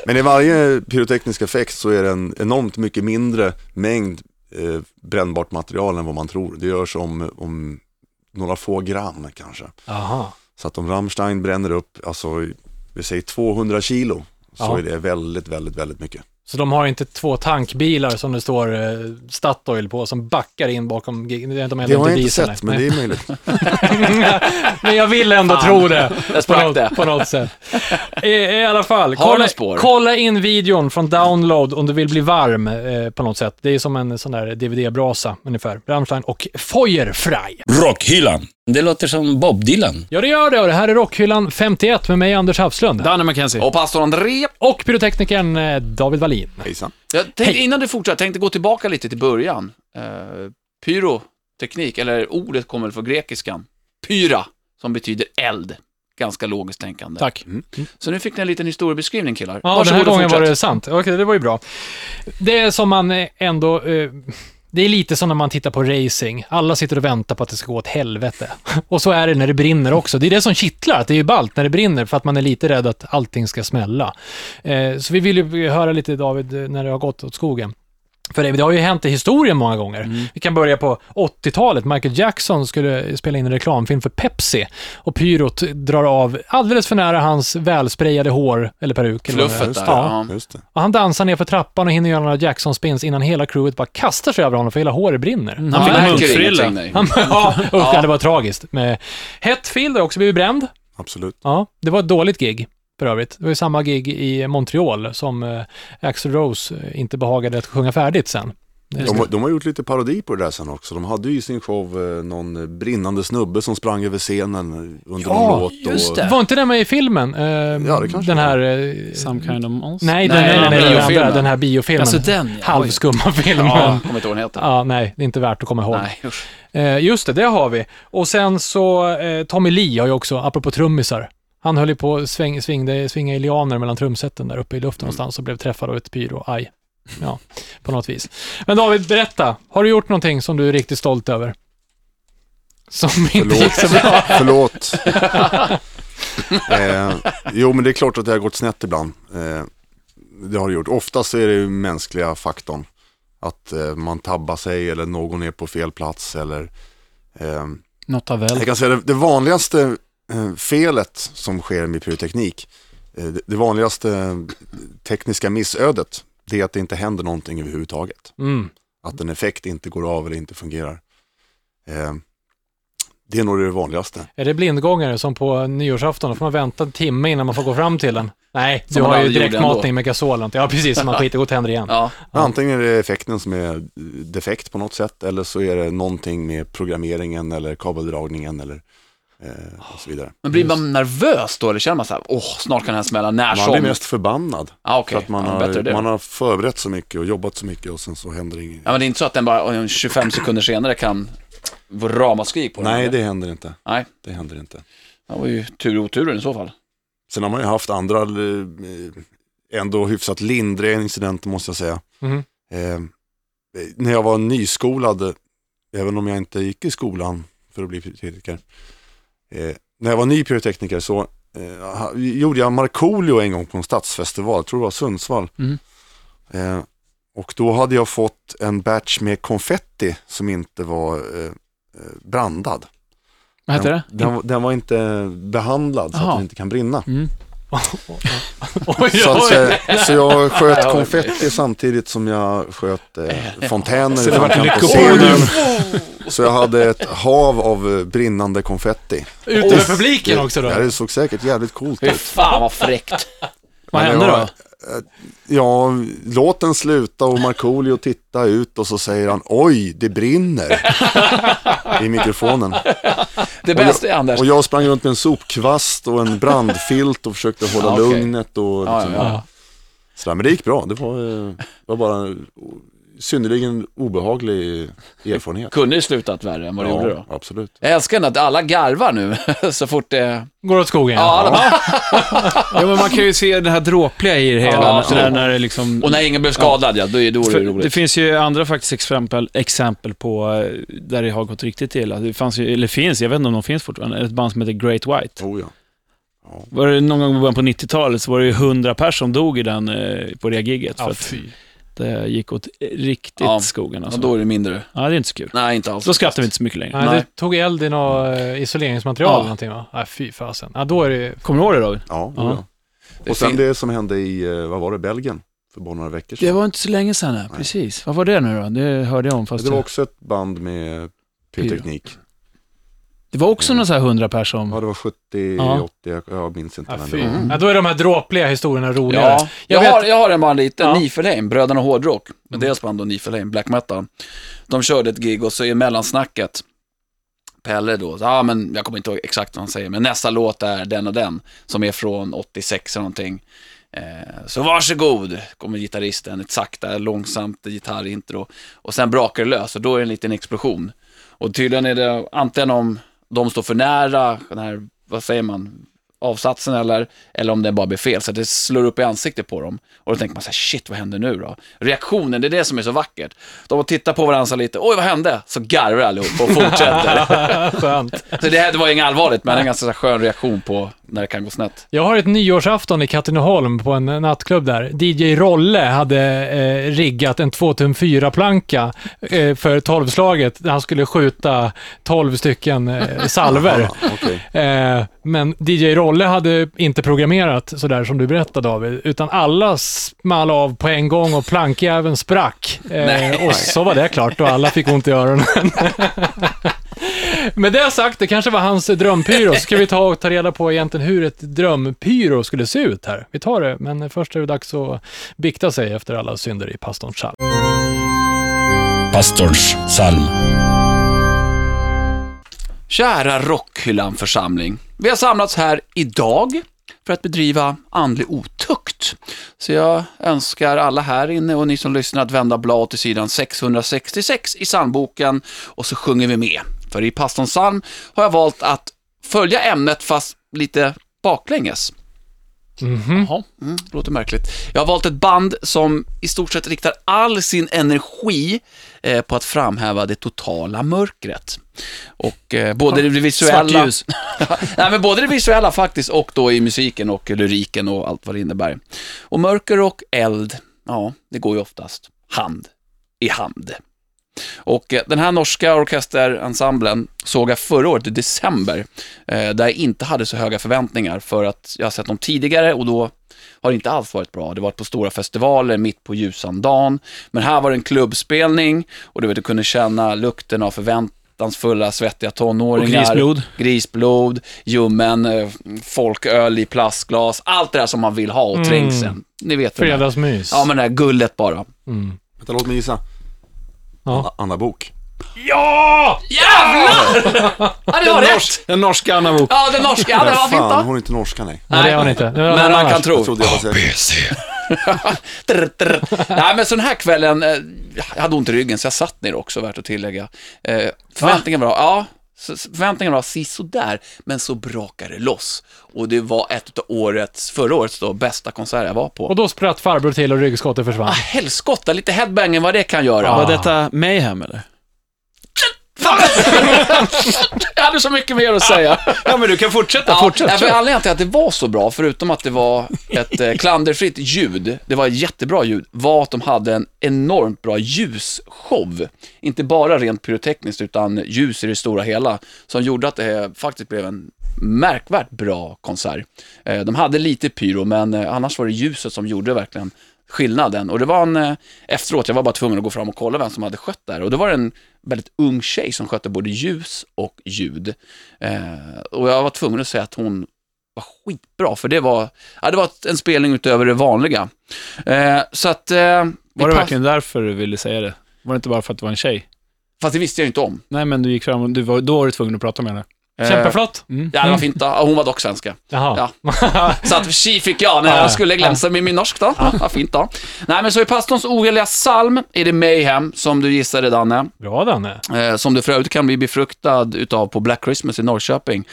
S5: Men i varje pyroteknisk effekt så är det en enormt mycket mindre mängd eh, brännbart material än vad man tror. Det görs om, om några få gram kanske.
S2: Aha.
S5: Så att om Rammstein bränner upp, alltså vi säger 200 kilo, så
S2: Ja.
S5: är det väldigt, väldigt, väldigt mycket.
S2: Så de har inte två tankbilar som det står eh, Statoil på som backar in bakom gig. Det, är inte de
S5: Det
S2: eldar
S5: har jag inte
S2: diesel,
S5: sett,
S2: nej.
S5: men det är möjligt.
S2: Men jag vill ändå
S3: Fan.
S2: tro det.
S3: Där
S2: På
S3: sprack
S2: något,
S3: det.
S2: på något sätt. I, I alla fall,
S3: Har
S2: kolla,
S3: den spår?
S2: kolla in videon från Download om du vill bli varm eh, på något sätt. Det är som en sån där DVD-brasa ungefär. Rammstein och Feuerfrei.
S1: Rockhyllan. Det låter som Bob Dylan.
S2: Ja, det gör det. Och det här är Rockhyllan 51 med mig, Anders Hafslund.
S4: Danne McKenzie.
S3: Och pastor André.
S2: Och pyroteknikern eh, David Wallin.
S5: Hejsan.
S3: Jag tänkte, innan du fortsätter, jag tänkte gå tillbaka lite till början. Eh, pyroteknik, eller ordet kommer väl från grekiskan. Pyra, som betyder eld. Ganska logiskt tänkande.
S4: Tack.
S3: Så nu fick ni en liten historiebeskrivning killar.
S2: Ja, den
S3: Varsågod
S2: här
S3: och
S2: gången var
S3: fortsätt.
S2: det sant. Okej, det var ju bra. Det är som man eh, ändå... Eh, det är lite som när man tittar på racing. Alla sitter och väntar på att det ska gå åt helvete. Och så är det när det brinner också. Det är det som kittlar, att det är ju ballt när det brinner, för att man är lite rädd att allting ska smälla. Eh, så vi vill ju höra lite David, eh, när det har gått åt skogen. För det, det har ju hänt i historien många gånger. Vi kan börja på 80-talet. Michael Jackson skulle spela in en reklamfilm för Pepsi och pyrot drar av alldeles för nära hans välsprejade hår, eller peruk. eller vad det är.
S3: Fluffet där.
S2: Ja.
S3: Ja.
S5: Just det.
S2: Och han dansar ner för trappan och hinner göra några Jackson-spins innan hela crewet bara kastar sig över honom för hela håret brinner.
S4: Han fick en
S3: märker
S4: munkfrilla.
S3: ingenting, nej.
S2: Han, ja, usch, ja, det var tragiskt. Men Hetfield har också blivit bränd.
S5: Absolut.
S2: Ja, det var ett dåligt gig för övrigt. Det var ju samma gig i Montreal som eh, Axl Rose eh, inte behagade att sjunga färdigt sen. Eh,
S5: De, har- de har gjort lite parodi på det där sen också. De hade ju i sin show eh, någon brinnande snubbe som sprang över scenen eh, under
S2: Ja,
S5: någon låt. och-
S4: just det.
S2: Var inte den med i filmen? Eh,
S5: det kanske
S2: den här... eh,
S4: Some kind of monster.
S2: Nej, den,
S3: Nej,
S2: nej, nej,
S3: den
S2: nej, den,
S3: biofilmen.
S2: andra, den här biofilmen.
S4: Alltså den, ja.
S2: Halvskumma filmen.
S3: Ja,
S2: Ja.
S3: jag kommer inte ihåg vad den heter.
S2: nej, det är inte värt att komma ihåg.
S3: Nej, usch.
S2: Eh, just det, det har vi. Och sen så, eh, Tommy Lee har ju också, apropå trummisar, han höll ju på att sväng, svingde, svinga i lianer mellan trumseten där uppe i luften någonstans och blev träffad av ett pyro. Aj. Ja, på något vis. Men David, berätta. Har du gjort någonting som du är riktigt stolt över? Som inte gick så bra?
S5: Förlåt. eh, jo, men det är klart att det har gått snett ibland. Eh, det har det gjort. Oftast är det ju mänskliga faktorn. Att eh, man tabbar sig eller någon är på fel plats eller... ehm,
S4: Något av väl.
S5: jag kan säga det, det vanligaste eh, felet som sker med pyroteknik, eh, det, det vanligaste eh, tekniska missödet, det är att det inte händer någonting överhuvudtaget.
S2: Mm.
S5: Att en effekt inte går av eller inte fungerar. Eh, Det är nog det vanligaste.
S2: Är det blindgångare som på nyårsafton, då får man vänta en timme innan man får gå fram till den? Nej,
S3: Som
S2: du
S3: man
S2: har ju
S3: aldrig gjorde
S2: direktmatning med gasol. eller något. Ja, precis, som man skiter och går och tänder igen.
S3: Ja.
S5: Antingen är det effekten som är eh, defekt på något sätt eller så är det någonting med programmeringen eller kabeldragningen eller eh, och så vidare.
S3: Men blir man nervös då, eller känner man så här, åh, snart kan den här smälla när
S5: Man
S3: Ah, som?
S5: blir mest förbannad.
S3: Ja, okej.
S5: För att man,
S3: Ja, bättre det.
S5: har, man har förberett så mycket och jobbat så mycket och sen så händer det inget.
S3: Ja, men det är inte så att den bara oj, 25 sekunder senare kan vara ramaskrik på den?
S5: Nej,
S3: eller?
S5: det händer inte.
S3: Nej,
S5: Det händer inte.
S3: det var ju tur i oturen i så fall.
S5: Sen har man ju haft andra eh, ändå hyfsat lindriga incidenter måste jag säga.
S2: Mhm.
S5: Eh, när jag var nyskolad, även om jag inte gick i skolan för att bli pyrotekniker. Eh, när jag var ny pyrotekniker så eh, ha- gjorde jag Markoolio en gång på en stadsfestival, jag tror det var Sundsvall.
S4: Mm.
S5: Eh, och då hade jag fått en batch med konfetti som inte var eh, eh, brandad.
S4: Vad heter det?
S5: den, Den, den var inte behandlad så att
S4: Aha.
S5: den inte kan brinna.
S4: Mm.
S2: Oj,
S5: Så, att,
S2: oj.
S5: eh, så jag sköt konfetti samtidigt som jag sköt eh, fontäner. i
S4: det var
S5: framkant på
S4: lyckopodden.
S5: scenen. Så jag hade ett hav av eh, brinnande konfetti.
S2: Ut över publiken också då.
S5: Ja, det såg säkert jävligt coolt
S3: Fy
S5: ut.
S3: fan vad fräckt.
S4: Vad
S5: Men
S4: hände
S5: jag- eh,
S4: då?
S5: Ja, låt den sluta och Markoolio tittar ut och så säger han oj, det brinner. I mikrofonen.
S3: Det bästa är Anders.
S5: Och jag sprang runt med en sopkvast och en brandfilt och försökte hålla
S3: Ja, okej.
S5: lugnet och
S3: Ja,
S5: liksom,
S3: ja,
S2: ja.
S5: Sådär. Men det gick bra. Det var, eh, var bara en o- synnerligen obehaglig erfarenhet.
S3: Kunde ju slutat värre än vad det gjorde då.
S5: absolut.
S3: Jag älskar ändå att alla garvar nu så fort det...
S2: Går åt skogen.
S3: Ja, alla bara,
S4: Ja, men man kan ju se det här dråpliga i det hela.
S3: Ja,
S4: när-
S3: absolut.
S4: när, när det liksom...
S3: och när ingen blev skadad, ja, då är då är det
S4: För, det
S3: roligt.
S4: finns ju andra faktiskt exempel, exempel på eh, där det har gått riktigt illa. Det fanns ju, eller finns, jag vet inte om de finns fortfarande, ett band som heter Great White.
S5: Oh, ja.
S4: Var det någon gång i början på 90-talet så var det ju 100 personer som dog i den, eh, på det giget. För
S2: Ja,
S4: att
S2: fy.
S4: det gick åt riktigt
S3: Ja,
S4: skogen
S3: Ja,
S4: alltså.
S3: då är det mindre.
S4: Ja, det är inte så kul.
S3: Nej, inte alls.
S4: Då skrattar vi inte så mycket längre.
S2: Nej,
S3: Nej.
S2: det tog eld i något eh, isoleringsmaterial
S4: Ja.
S2: eller någonting va? Nej, fy fasen. Ja, då är det ju...
S4: Kommer du ihåg det David?
S5: Ja,
S4: Ja.
S5: oh, ja.
S3: Det
S5: Och sen
S3: fin-
S5: det som hände i, eh, vad var det, Belgien? För bara några veckor sedan.
S4: Det var inte så länge sedan, nej. precis. Vad var det nu då? Det hörde jag om, fast
S5: det var också ett band med pyroteknik.
S4: det var
S3: Mm.
S4: också någon sån här 100 pers som...
S5: Ja, det var 70,
S4: Ja.
S5: 80, jag- jag minns inte.
S2: Ja,
S5: men det
S2: fy.
S5: var-
S3: Mm.
S2: Ja, då är de här dråpliga historierna roligare.
S3: Ja, jag,
S2: Jag vet-
S3: har, jag har en band liten,
S2: Ja. Mm.
S3: Nifelheim, Bröderna Hårdrock. Deras band då, Nifelheim, Black Metal. De körde ett gig och så i mellansnacket, Pelle då, ja ah, men jag kommer inte ihåg exakt vad han säger, men nästa låt är den och den, som är från 86 eller någonting. Eh, så varsågod, kommer gitarristen, ett sakta, långsamt gitarrintro. Och sen brakar det lös och då är det en liten explosion. Och tydligen är det antingen om de står för nära, den här, vad säger man, avsatsen eller, eller om det bara blir fel. Så att det slår upp i ansiktet på dem. Och då tänker man så här, shit vad händer nu då? Reaktionen, det är det som är så vackert. De tittar på varandra så lite, oj vad hände? Så garvar allihop och fortsätter.
S2: Skönt.
S3: så det, här- det var inget allvarligt, men en ganska så här skön reaktion på när det kan gå snett.
S2: Jag har ett nyårsafton i Katrineholm på en nattklubb där. DJ Rolle hade eh, riggat en 2 tum 4-planka eh, för tolvslaget där han skulle skjuta 12 stycken eh, salver.
S5: Ja, okej.
S2: Eh, men DJ Rolle hade inte programmerat sådär som du berättade David, utan alla small av på en gång och plankjäveln sprack. Eh, och så var det klart och alla fick ont i öronen. Med det sagt, det kanske var hans drömpyro. Så ska vi ta och ta reda på egentligen hur ett drömpyro skulle se ut här. Vi tar det, men först är det dags att bikta sig efter alla synder i pastorns psalm.
S1: Pastorns psalm.
S3: Kära Rockhyllan-församling. Vi har samlats här idag för att bedriva andlig otukt. Så jag önskar alla här inne och ni som lyssnar att vända blad till sidan 666 i psalmboken och så sjunger vi med. För i pastorns psalm har jag valt att följa ämnet fast lite baklänges.
S2: Mhm.
S3: Jaha, mm, det låter märkligt. Jag har valt ett band som i stort sett riktar all sin energi eh, på att framhäva det totala mörkret. Och eh, både det visuella...
S4: Svartljus.
S3: Nej, men både det visuella faktiskt och då i musiken och lyriken och allt vad det innebär. Och mörker och eld, ja, det går ju oftast hand i hand. Och eh, den här norska orkesterensemblen såg jag förra året i december, eh, där jag inte hade så höga förväntningar för att jag har sett dem tidigare och då har det inte alls varit bra. Det har varit på stora festivaler mitt på ljusan dagen, men här var det en klubbspelning och du vet, du kunde känna lukten av förväntningar fattansfulla, svettiga
S4: Och
S3: tonåringar.
S4: grisblod.
S3: Grisblod, ljummen, eh, folköl i plastglas. Allt det där som man vill ha och trängseln. Ni vet väl det. där.
S2: Fredagsmys.
S3: Ja, men det här guldet bara.
S2: Mm.
S5: Vänta, låt mig gissa.
S2: Ja.
S5: Anna, Anna Bok.
S2: Ja!
S3: Ja, det var rätt!
S4: Den norska Anna Wook.
S3: Ja, den norska. Ja, det var fint
S5: Fan,
S3: då.
S5: hon är inte norska nej.
S2: Nej, det har ni inte. Det
S3: Men
S2: var någon
S3: man
S2: annars.
S3: kan tro.
S5: Jag trodde jag var säker.
S3: Trr, trr. Nej, men så den här kvällen, eh, jag hade ont i ryggen så jag satt ner också, värt att tillägga. Eh, förväntningen var, ja, så- så förväntningen var sisådär, men så brakade det loss. Och det var ett av årets, förra årets då, bästa konsert jag var på.
S2: Och då spratt farbror till och ryggskottet försvann.
S3: Ah, helskotta, lite headbanging vad det kan göra.
S4: Var detta Mayhem eller?
S3: Fan! jag hade så mycket mer att säga.
S4: Ja, men du kan fortsätta.
S3: Ja, för anledningen till att det var så bra, förutom att det var ett eh, klanderfritt ljud, det var ett jättebra ljud, var att de hade en enormt bra ljusshow. Inte bara rent pyrotekniskt, utan ljus i det stora hela, som gjorde att det eh, faktiskt blev en märkvärt bra konsert. Eh, De hade lite pyro, men eh, annars var det ljuset som gjorde verkligen skillnaden. Och det var en, eh, efteråt, jag var bara tvungen att gå fram och kolla vem som hade skött där. Och det var en väldigt ung tjej som skötte både ljus och ljud. Eh, och jag var tvungen att säga att hon var skitbra, för det var, ja, det var ett- en spelning utöver det vanliga. Eh, så att... Eh, vi
S4: Var det
S3: pass-
S4: verkligen därför du ville säga det? Var det inte bara för att det var en tjej?
S3: Fast det visste jag ju inte om.
S4: Nej, men du gick fram och du var, då var du tvungen att prata med henne.
S3: Eh,
S2: Kämpeflott.
S3: Ja, det var fint. Då. Ja, Hon var dock svenska.
S2: Jaha.
S3: Så att tji fick jag när
S2: Ja,
S3: jag skulle glänsa med min norsk då. Ja, fint då. Nej, men så i pastorns oheliga psalm är det Mayhem, som du gissade Danne.
S2: Bra Danne.
S3: Eh, som du för övrigt kan bli befruktad utav på Black Christmas i Norrköping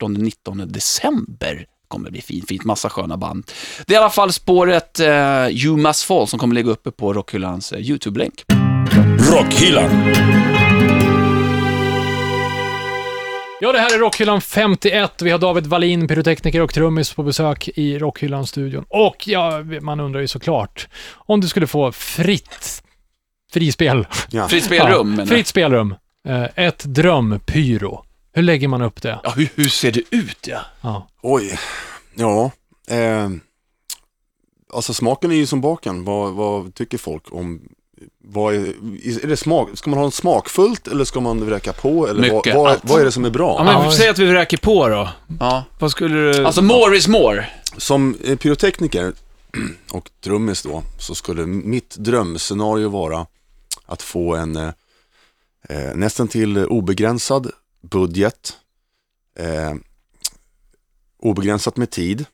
S3: 18-19 december. kommer bli fint, fint, massa sköna band. Det är i alla fall spåret eh, You Must Fall som kommer ligga uppe på Rockhyllans eh, YouTube-länk.
S1: Rockhyllan.
S2: Ja, det här är Rockhyllan 51. Vi har David Wallin, pyrotekniker och trummis på besök i Rockhyllan-studion. Och ja, man undrar ju såklart, om du skulle få fritt frispel.
S5: Ja.
S3: Fritt spelrum,
S2: Ja,
S3: men...
S2: fritt spelrum. Eh, Ett drömpyro. Hur lägger man upp det?
S3: Ja, hur, hur ser det ut, ja?
S2: Ja.
S5: Oj, ja. Eh, alltså smaken är ju som baken. Vad, vad tycker folk om... Vad är, är det smak, ska man ha en smakfullt eller ska man vräka på? Eller vad,
S3: Mycket,
S5: vad,
S3: allt.
S5: vad är det som är bra?
S4: Ja, men
S2: Ja.
S4: säg att vi räcker på då.
S3: ja.
S4: Vad skulle du...
S3: Alltså, more is more.
S5: Som eh, pyrotekniker och trummis då, så skulle mitt drömscenario vara att få en eh, eh, nästan till obegränsad budget, eh, obegränsat med tid,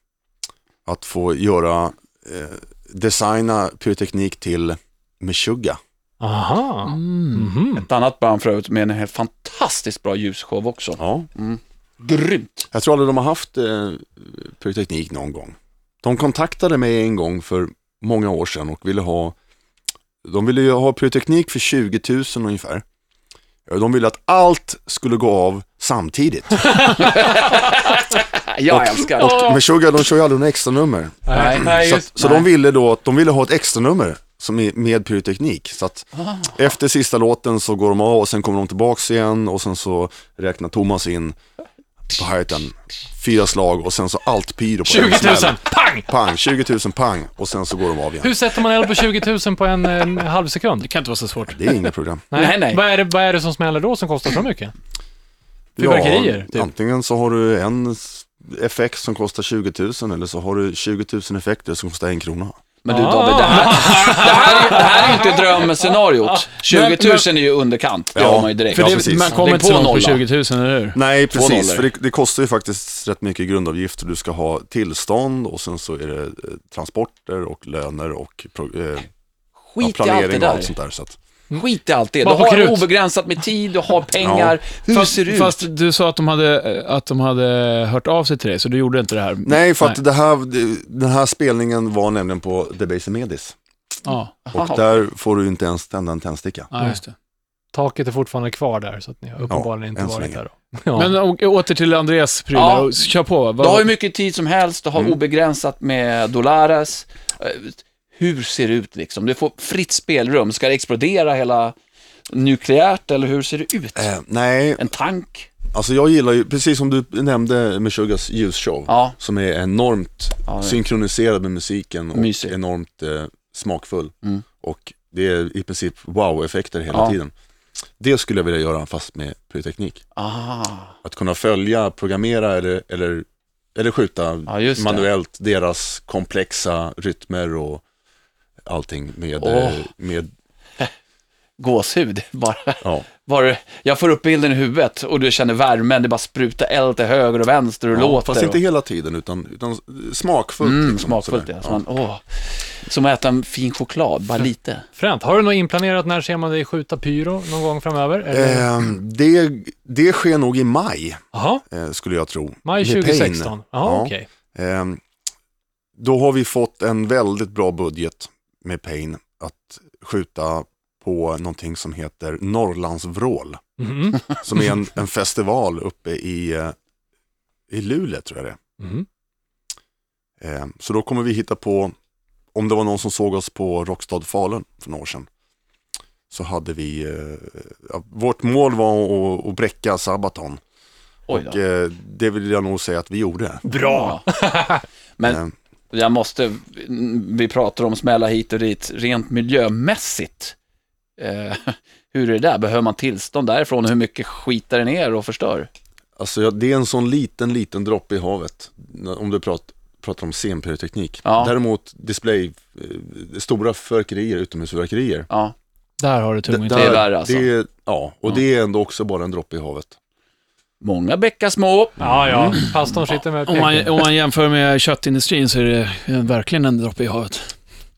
S5: att få göra, eh, designa pyroteknik till Meshuggah.
S2: Aha. Mhm.
S3: Ett annat band för övrigt med en helt fantastiskt bra ljusshow också.
S5: Ja.
S3: Grymt.
S5: Jag tror aldrig de har haft eh, pyroteknik någon gång. De kontaktade mig en gång för många år sedan och ville ha, de ville ju ha pyroteknik för 20 000 ungefär. Eh, De ville att allt skulle gå av samtidigt.
S3: Jag älskar det.
S5: Och Meshuggah, de kör ju aldrig några extra nummer.
S2: Nej, nej,
S5: Så,
S2: just,
S5: att, så de ville då, de ville ha ett extra nummer som är med pyroteknik. Så att
S2: Ah.
S5: efter sista låten så går de av och sen kommer de tillbaks igen och sen så räknar Thomas in på hi-haten fyra slag och sen så allt pyro på
S2: 20
S5: en
S2: 000.
S5: smäll.
S2: Pang!
S5: Pang, 20 000 pang och sen så går de av igen.
S2: Hur sätter man eld på 20 000 på en, en halv sekund?
S4: Det kan inte vara så svårt.
S5: Det är inga problem.
S3: Nej, nej.
S2: Vad, är det, vad är det som smäller då som kostar så mycket? Fyrverkerier, typ.
S5: Antingen så har du en s- effekt som kostar 20 000 eller så har du 20 000 effekter som kostar en krona.
S3: Men du David, det här,
S5: Ah.
S3: det här, det här är ju inte drömscenariot. 20 000 är ju underkant, det
S5: Ja,
S3: har man ju direkt.
S5: för Ja,
S4: det,
S5: precis.
S4: man kommer
S3: Lägg
S4: inte så
S3: på
S4: långt på
S3: nolla.
S4: 20 000, eller hur?
S5: Nej, precis.
S3: nollor.
S5: För det, det kostar ju faktiskt rätt mycket grundavgift och du ska ha tillstånd och sen så är det eh, transporter och löner och pro, eh, ja,
S3: Skit i allt det
S5: planering och allt
S3: där. Mm.
S5: sånt där. Så att,
S3: Skit i allt det. Du
S2: Bara på
S3: har
S2: krut.
S3: obegränsat med tid, du har pengar. Hur
S4: Fast,
S3: ser det ut?
S4: fast du sa att de, hade, att de hade hört av sig till dig, så du gjorde inte det här?
S5: nej, för att Det här, det- den här spelningen var nämligen på Debaser Medis
S4: Ja,
S5: och där får du inte ens tända en tändsticka.
S4: ja just det.
S2: Taket är fortfarande kvar där, så att ni har uppenbarligen
S5: än
S2: inte
S5: så
S2: varit
S5: länge.
S2: där då. Ja. eh,
S4: Men å- åter till Andreas prylar,
S3: Ja.
S4: och kör på.
S3: Du
S4: Vad-
S3: har hur mycket tid som helst, du
S4: Mm.
S3: har obegränsat med dollares. Eh, Hur ser det ut liksom? Du får fritt spelrum. Ska det explodera hela nukleärt eller hur ser det ut?
S5: Eh, nej,
S3: En tank?
S5: Alltså jag gillar ju, precis som du nämnde Meshuggahs ljusshow,
S3: Ja.
S5: som är enormt
S3: Ja, det-
S5: synkroniserad med musiken och
S3: Mysig.
S5: enormt eh, smakfull.
S3: Mm.
S5: Och det är i princip wow-effekter hela
S3: Ja.
S5: tiden.
S6: Det skulle jag vilja göra fast med pyroteknik.
S3: Ah,
S6: Att kunna följa, programmera eller, eller, eller skjuta
S3: ja, just det.
S6: manuellt deras komplexa rytmer och allting med,
S3: Åh.
S6: eh, med
S3: Gåshud bara.
S6: ja.
S3: bara. Jag får upp bilden i huvudet och du känner värmen, det bara sprutar eld till höger och vänster och
S6: ja,
S3: låter.
S6: fast inte
S3: och...
S6: hela tiden utan, utan smakfullt.
S3: Mm,
S6: liksom,
S3: smakfullt
S6: sådär.
S3: ja. Så man, åh. Som att äta en fin choklad, bara lite.
S2: Fränt. Har du något inplanerat? När ser man dig skjuta pyro någon gång framöver? Eller?
S5: Ehm, det, det sker nog i maj,
S2: Jaha,
S5: eh, skulle jag tro.
S2: maj
S5: Med Pain.
S2: 2016. Jaha,
S5: Ja.
S2: okej.
S5: Ehm, då har vi fått en väldigt bra budget med Pain att skjuta på någonting som heter Norrlandsvrål.
S2: Mhm,
S5: Som är en, en festival uppe i, eh, i Luleå tror jag det är.
S2: mhm.
S5: Eh, Så då kommer vi hitta på, om det var någon som såg oss på Rockstad Falun för några år sedan, så hade vi, eh, ja, vårt mål var att, att bräcka Sabaton.
S3: Oj
S5: Och
S3: då.
S5: eh, det vill jag nog säga att vi gjorde.
S3: Bra! Men
S5: Eh,
S3: jag måste, vi pratar om smälla hit och dit, rent miljömässigt. Eh, hur är det där? Behöver man tillstånd därifrån? Hur mycket skitar det ner och förstör?
S6: Alltså ja, det är en sån liten, liten droppe i havet. Om du pratar, pratar om scenpyroteknik.
S3: Ja.
S6: Däremot display, eh, stora fyrverkerier, utomhusfyrverkerier.
S3: Ja,
S2: Där har du tungan.
S3: Det är värre alltså.
S6: det är- ja, och
S3: Ja.
S6: det är ändå också bara en droppe i havet.
S3: många bäckar små.
S2: Ja, ja. Pastorn sitter med
S4: Om
S2: pekfingret.
S4: man, om man jämför med köttindustrin så är det en- verkligen en droppe i havet.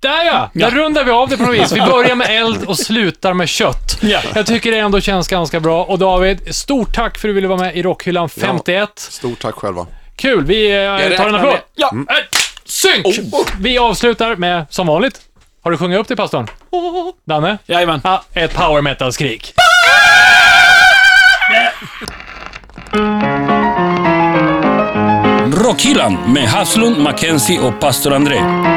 S2: Där ja! Där rundar vi av det på något vis. Vi börjar med eld och slutar med kött.
S4: Ja.
S2: Jag tycker det ändå känns ganska bra. Och David, stort tack för att du ville vara med i Rockhyllan 51.
S5: Stort tack själva.
S2: Kul, vi eh, tar
S3: räknar
S2: en applåd.
S3: med-
S2: Ja. eh, Synk! Vi avslutar med, som vanligt, har du sjungit upp till pastorn? Danne?
S4: Jajamän.
S2: Ja, ett power metal-skrik.
S1: Rockhyllan med Haslund, Mackenzie och pastor André.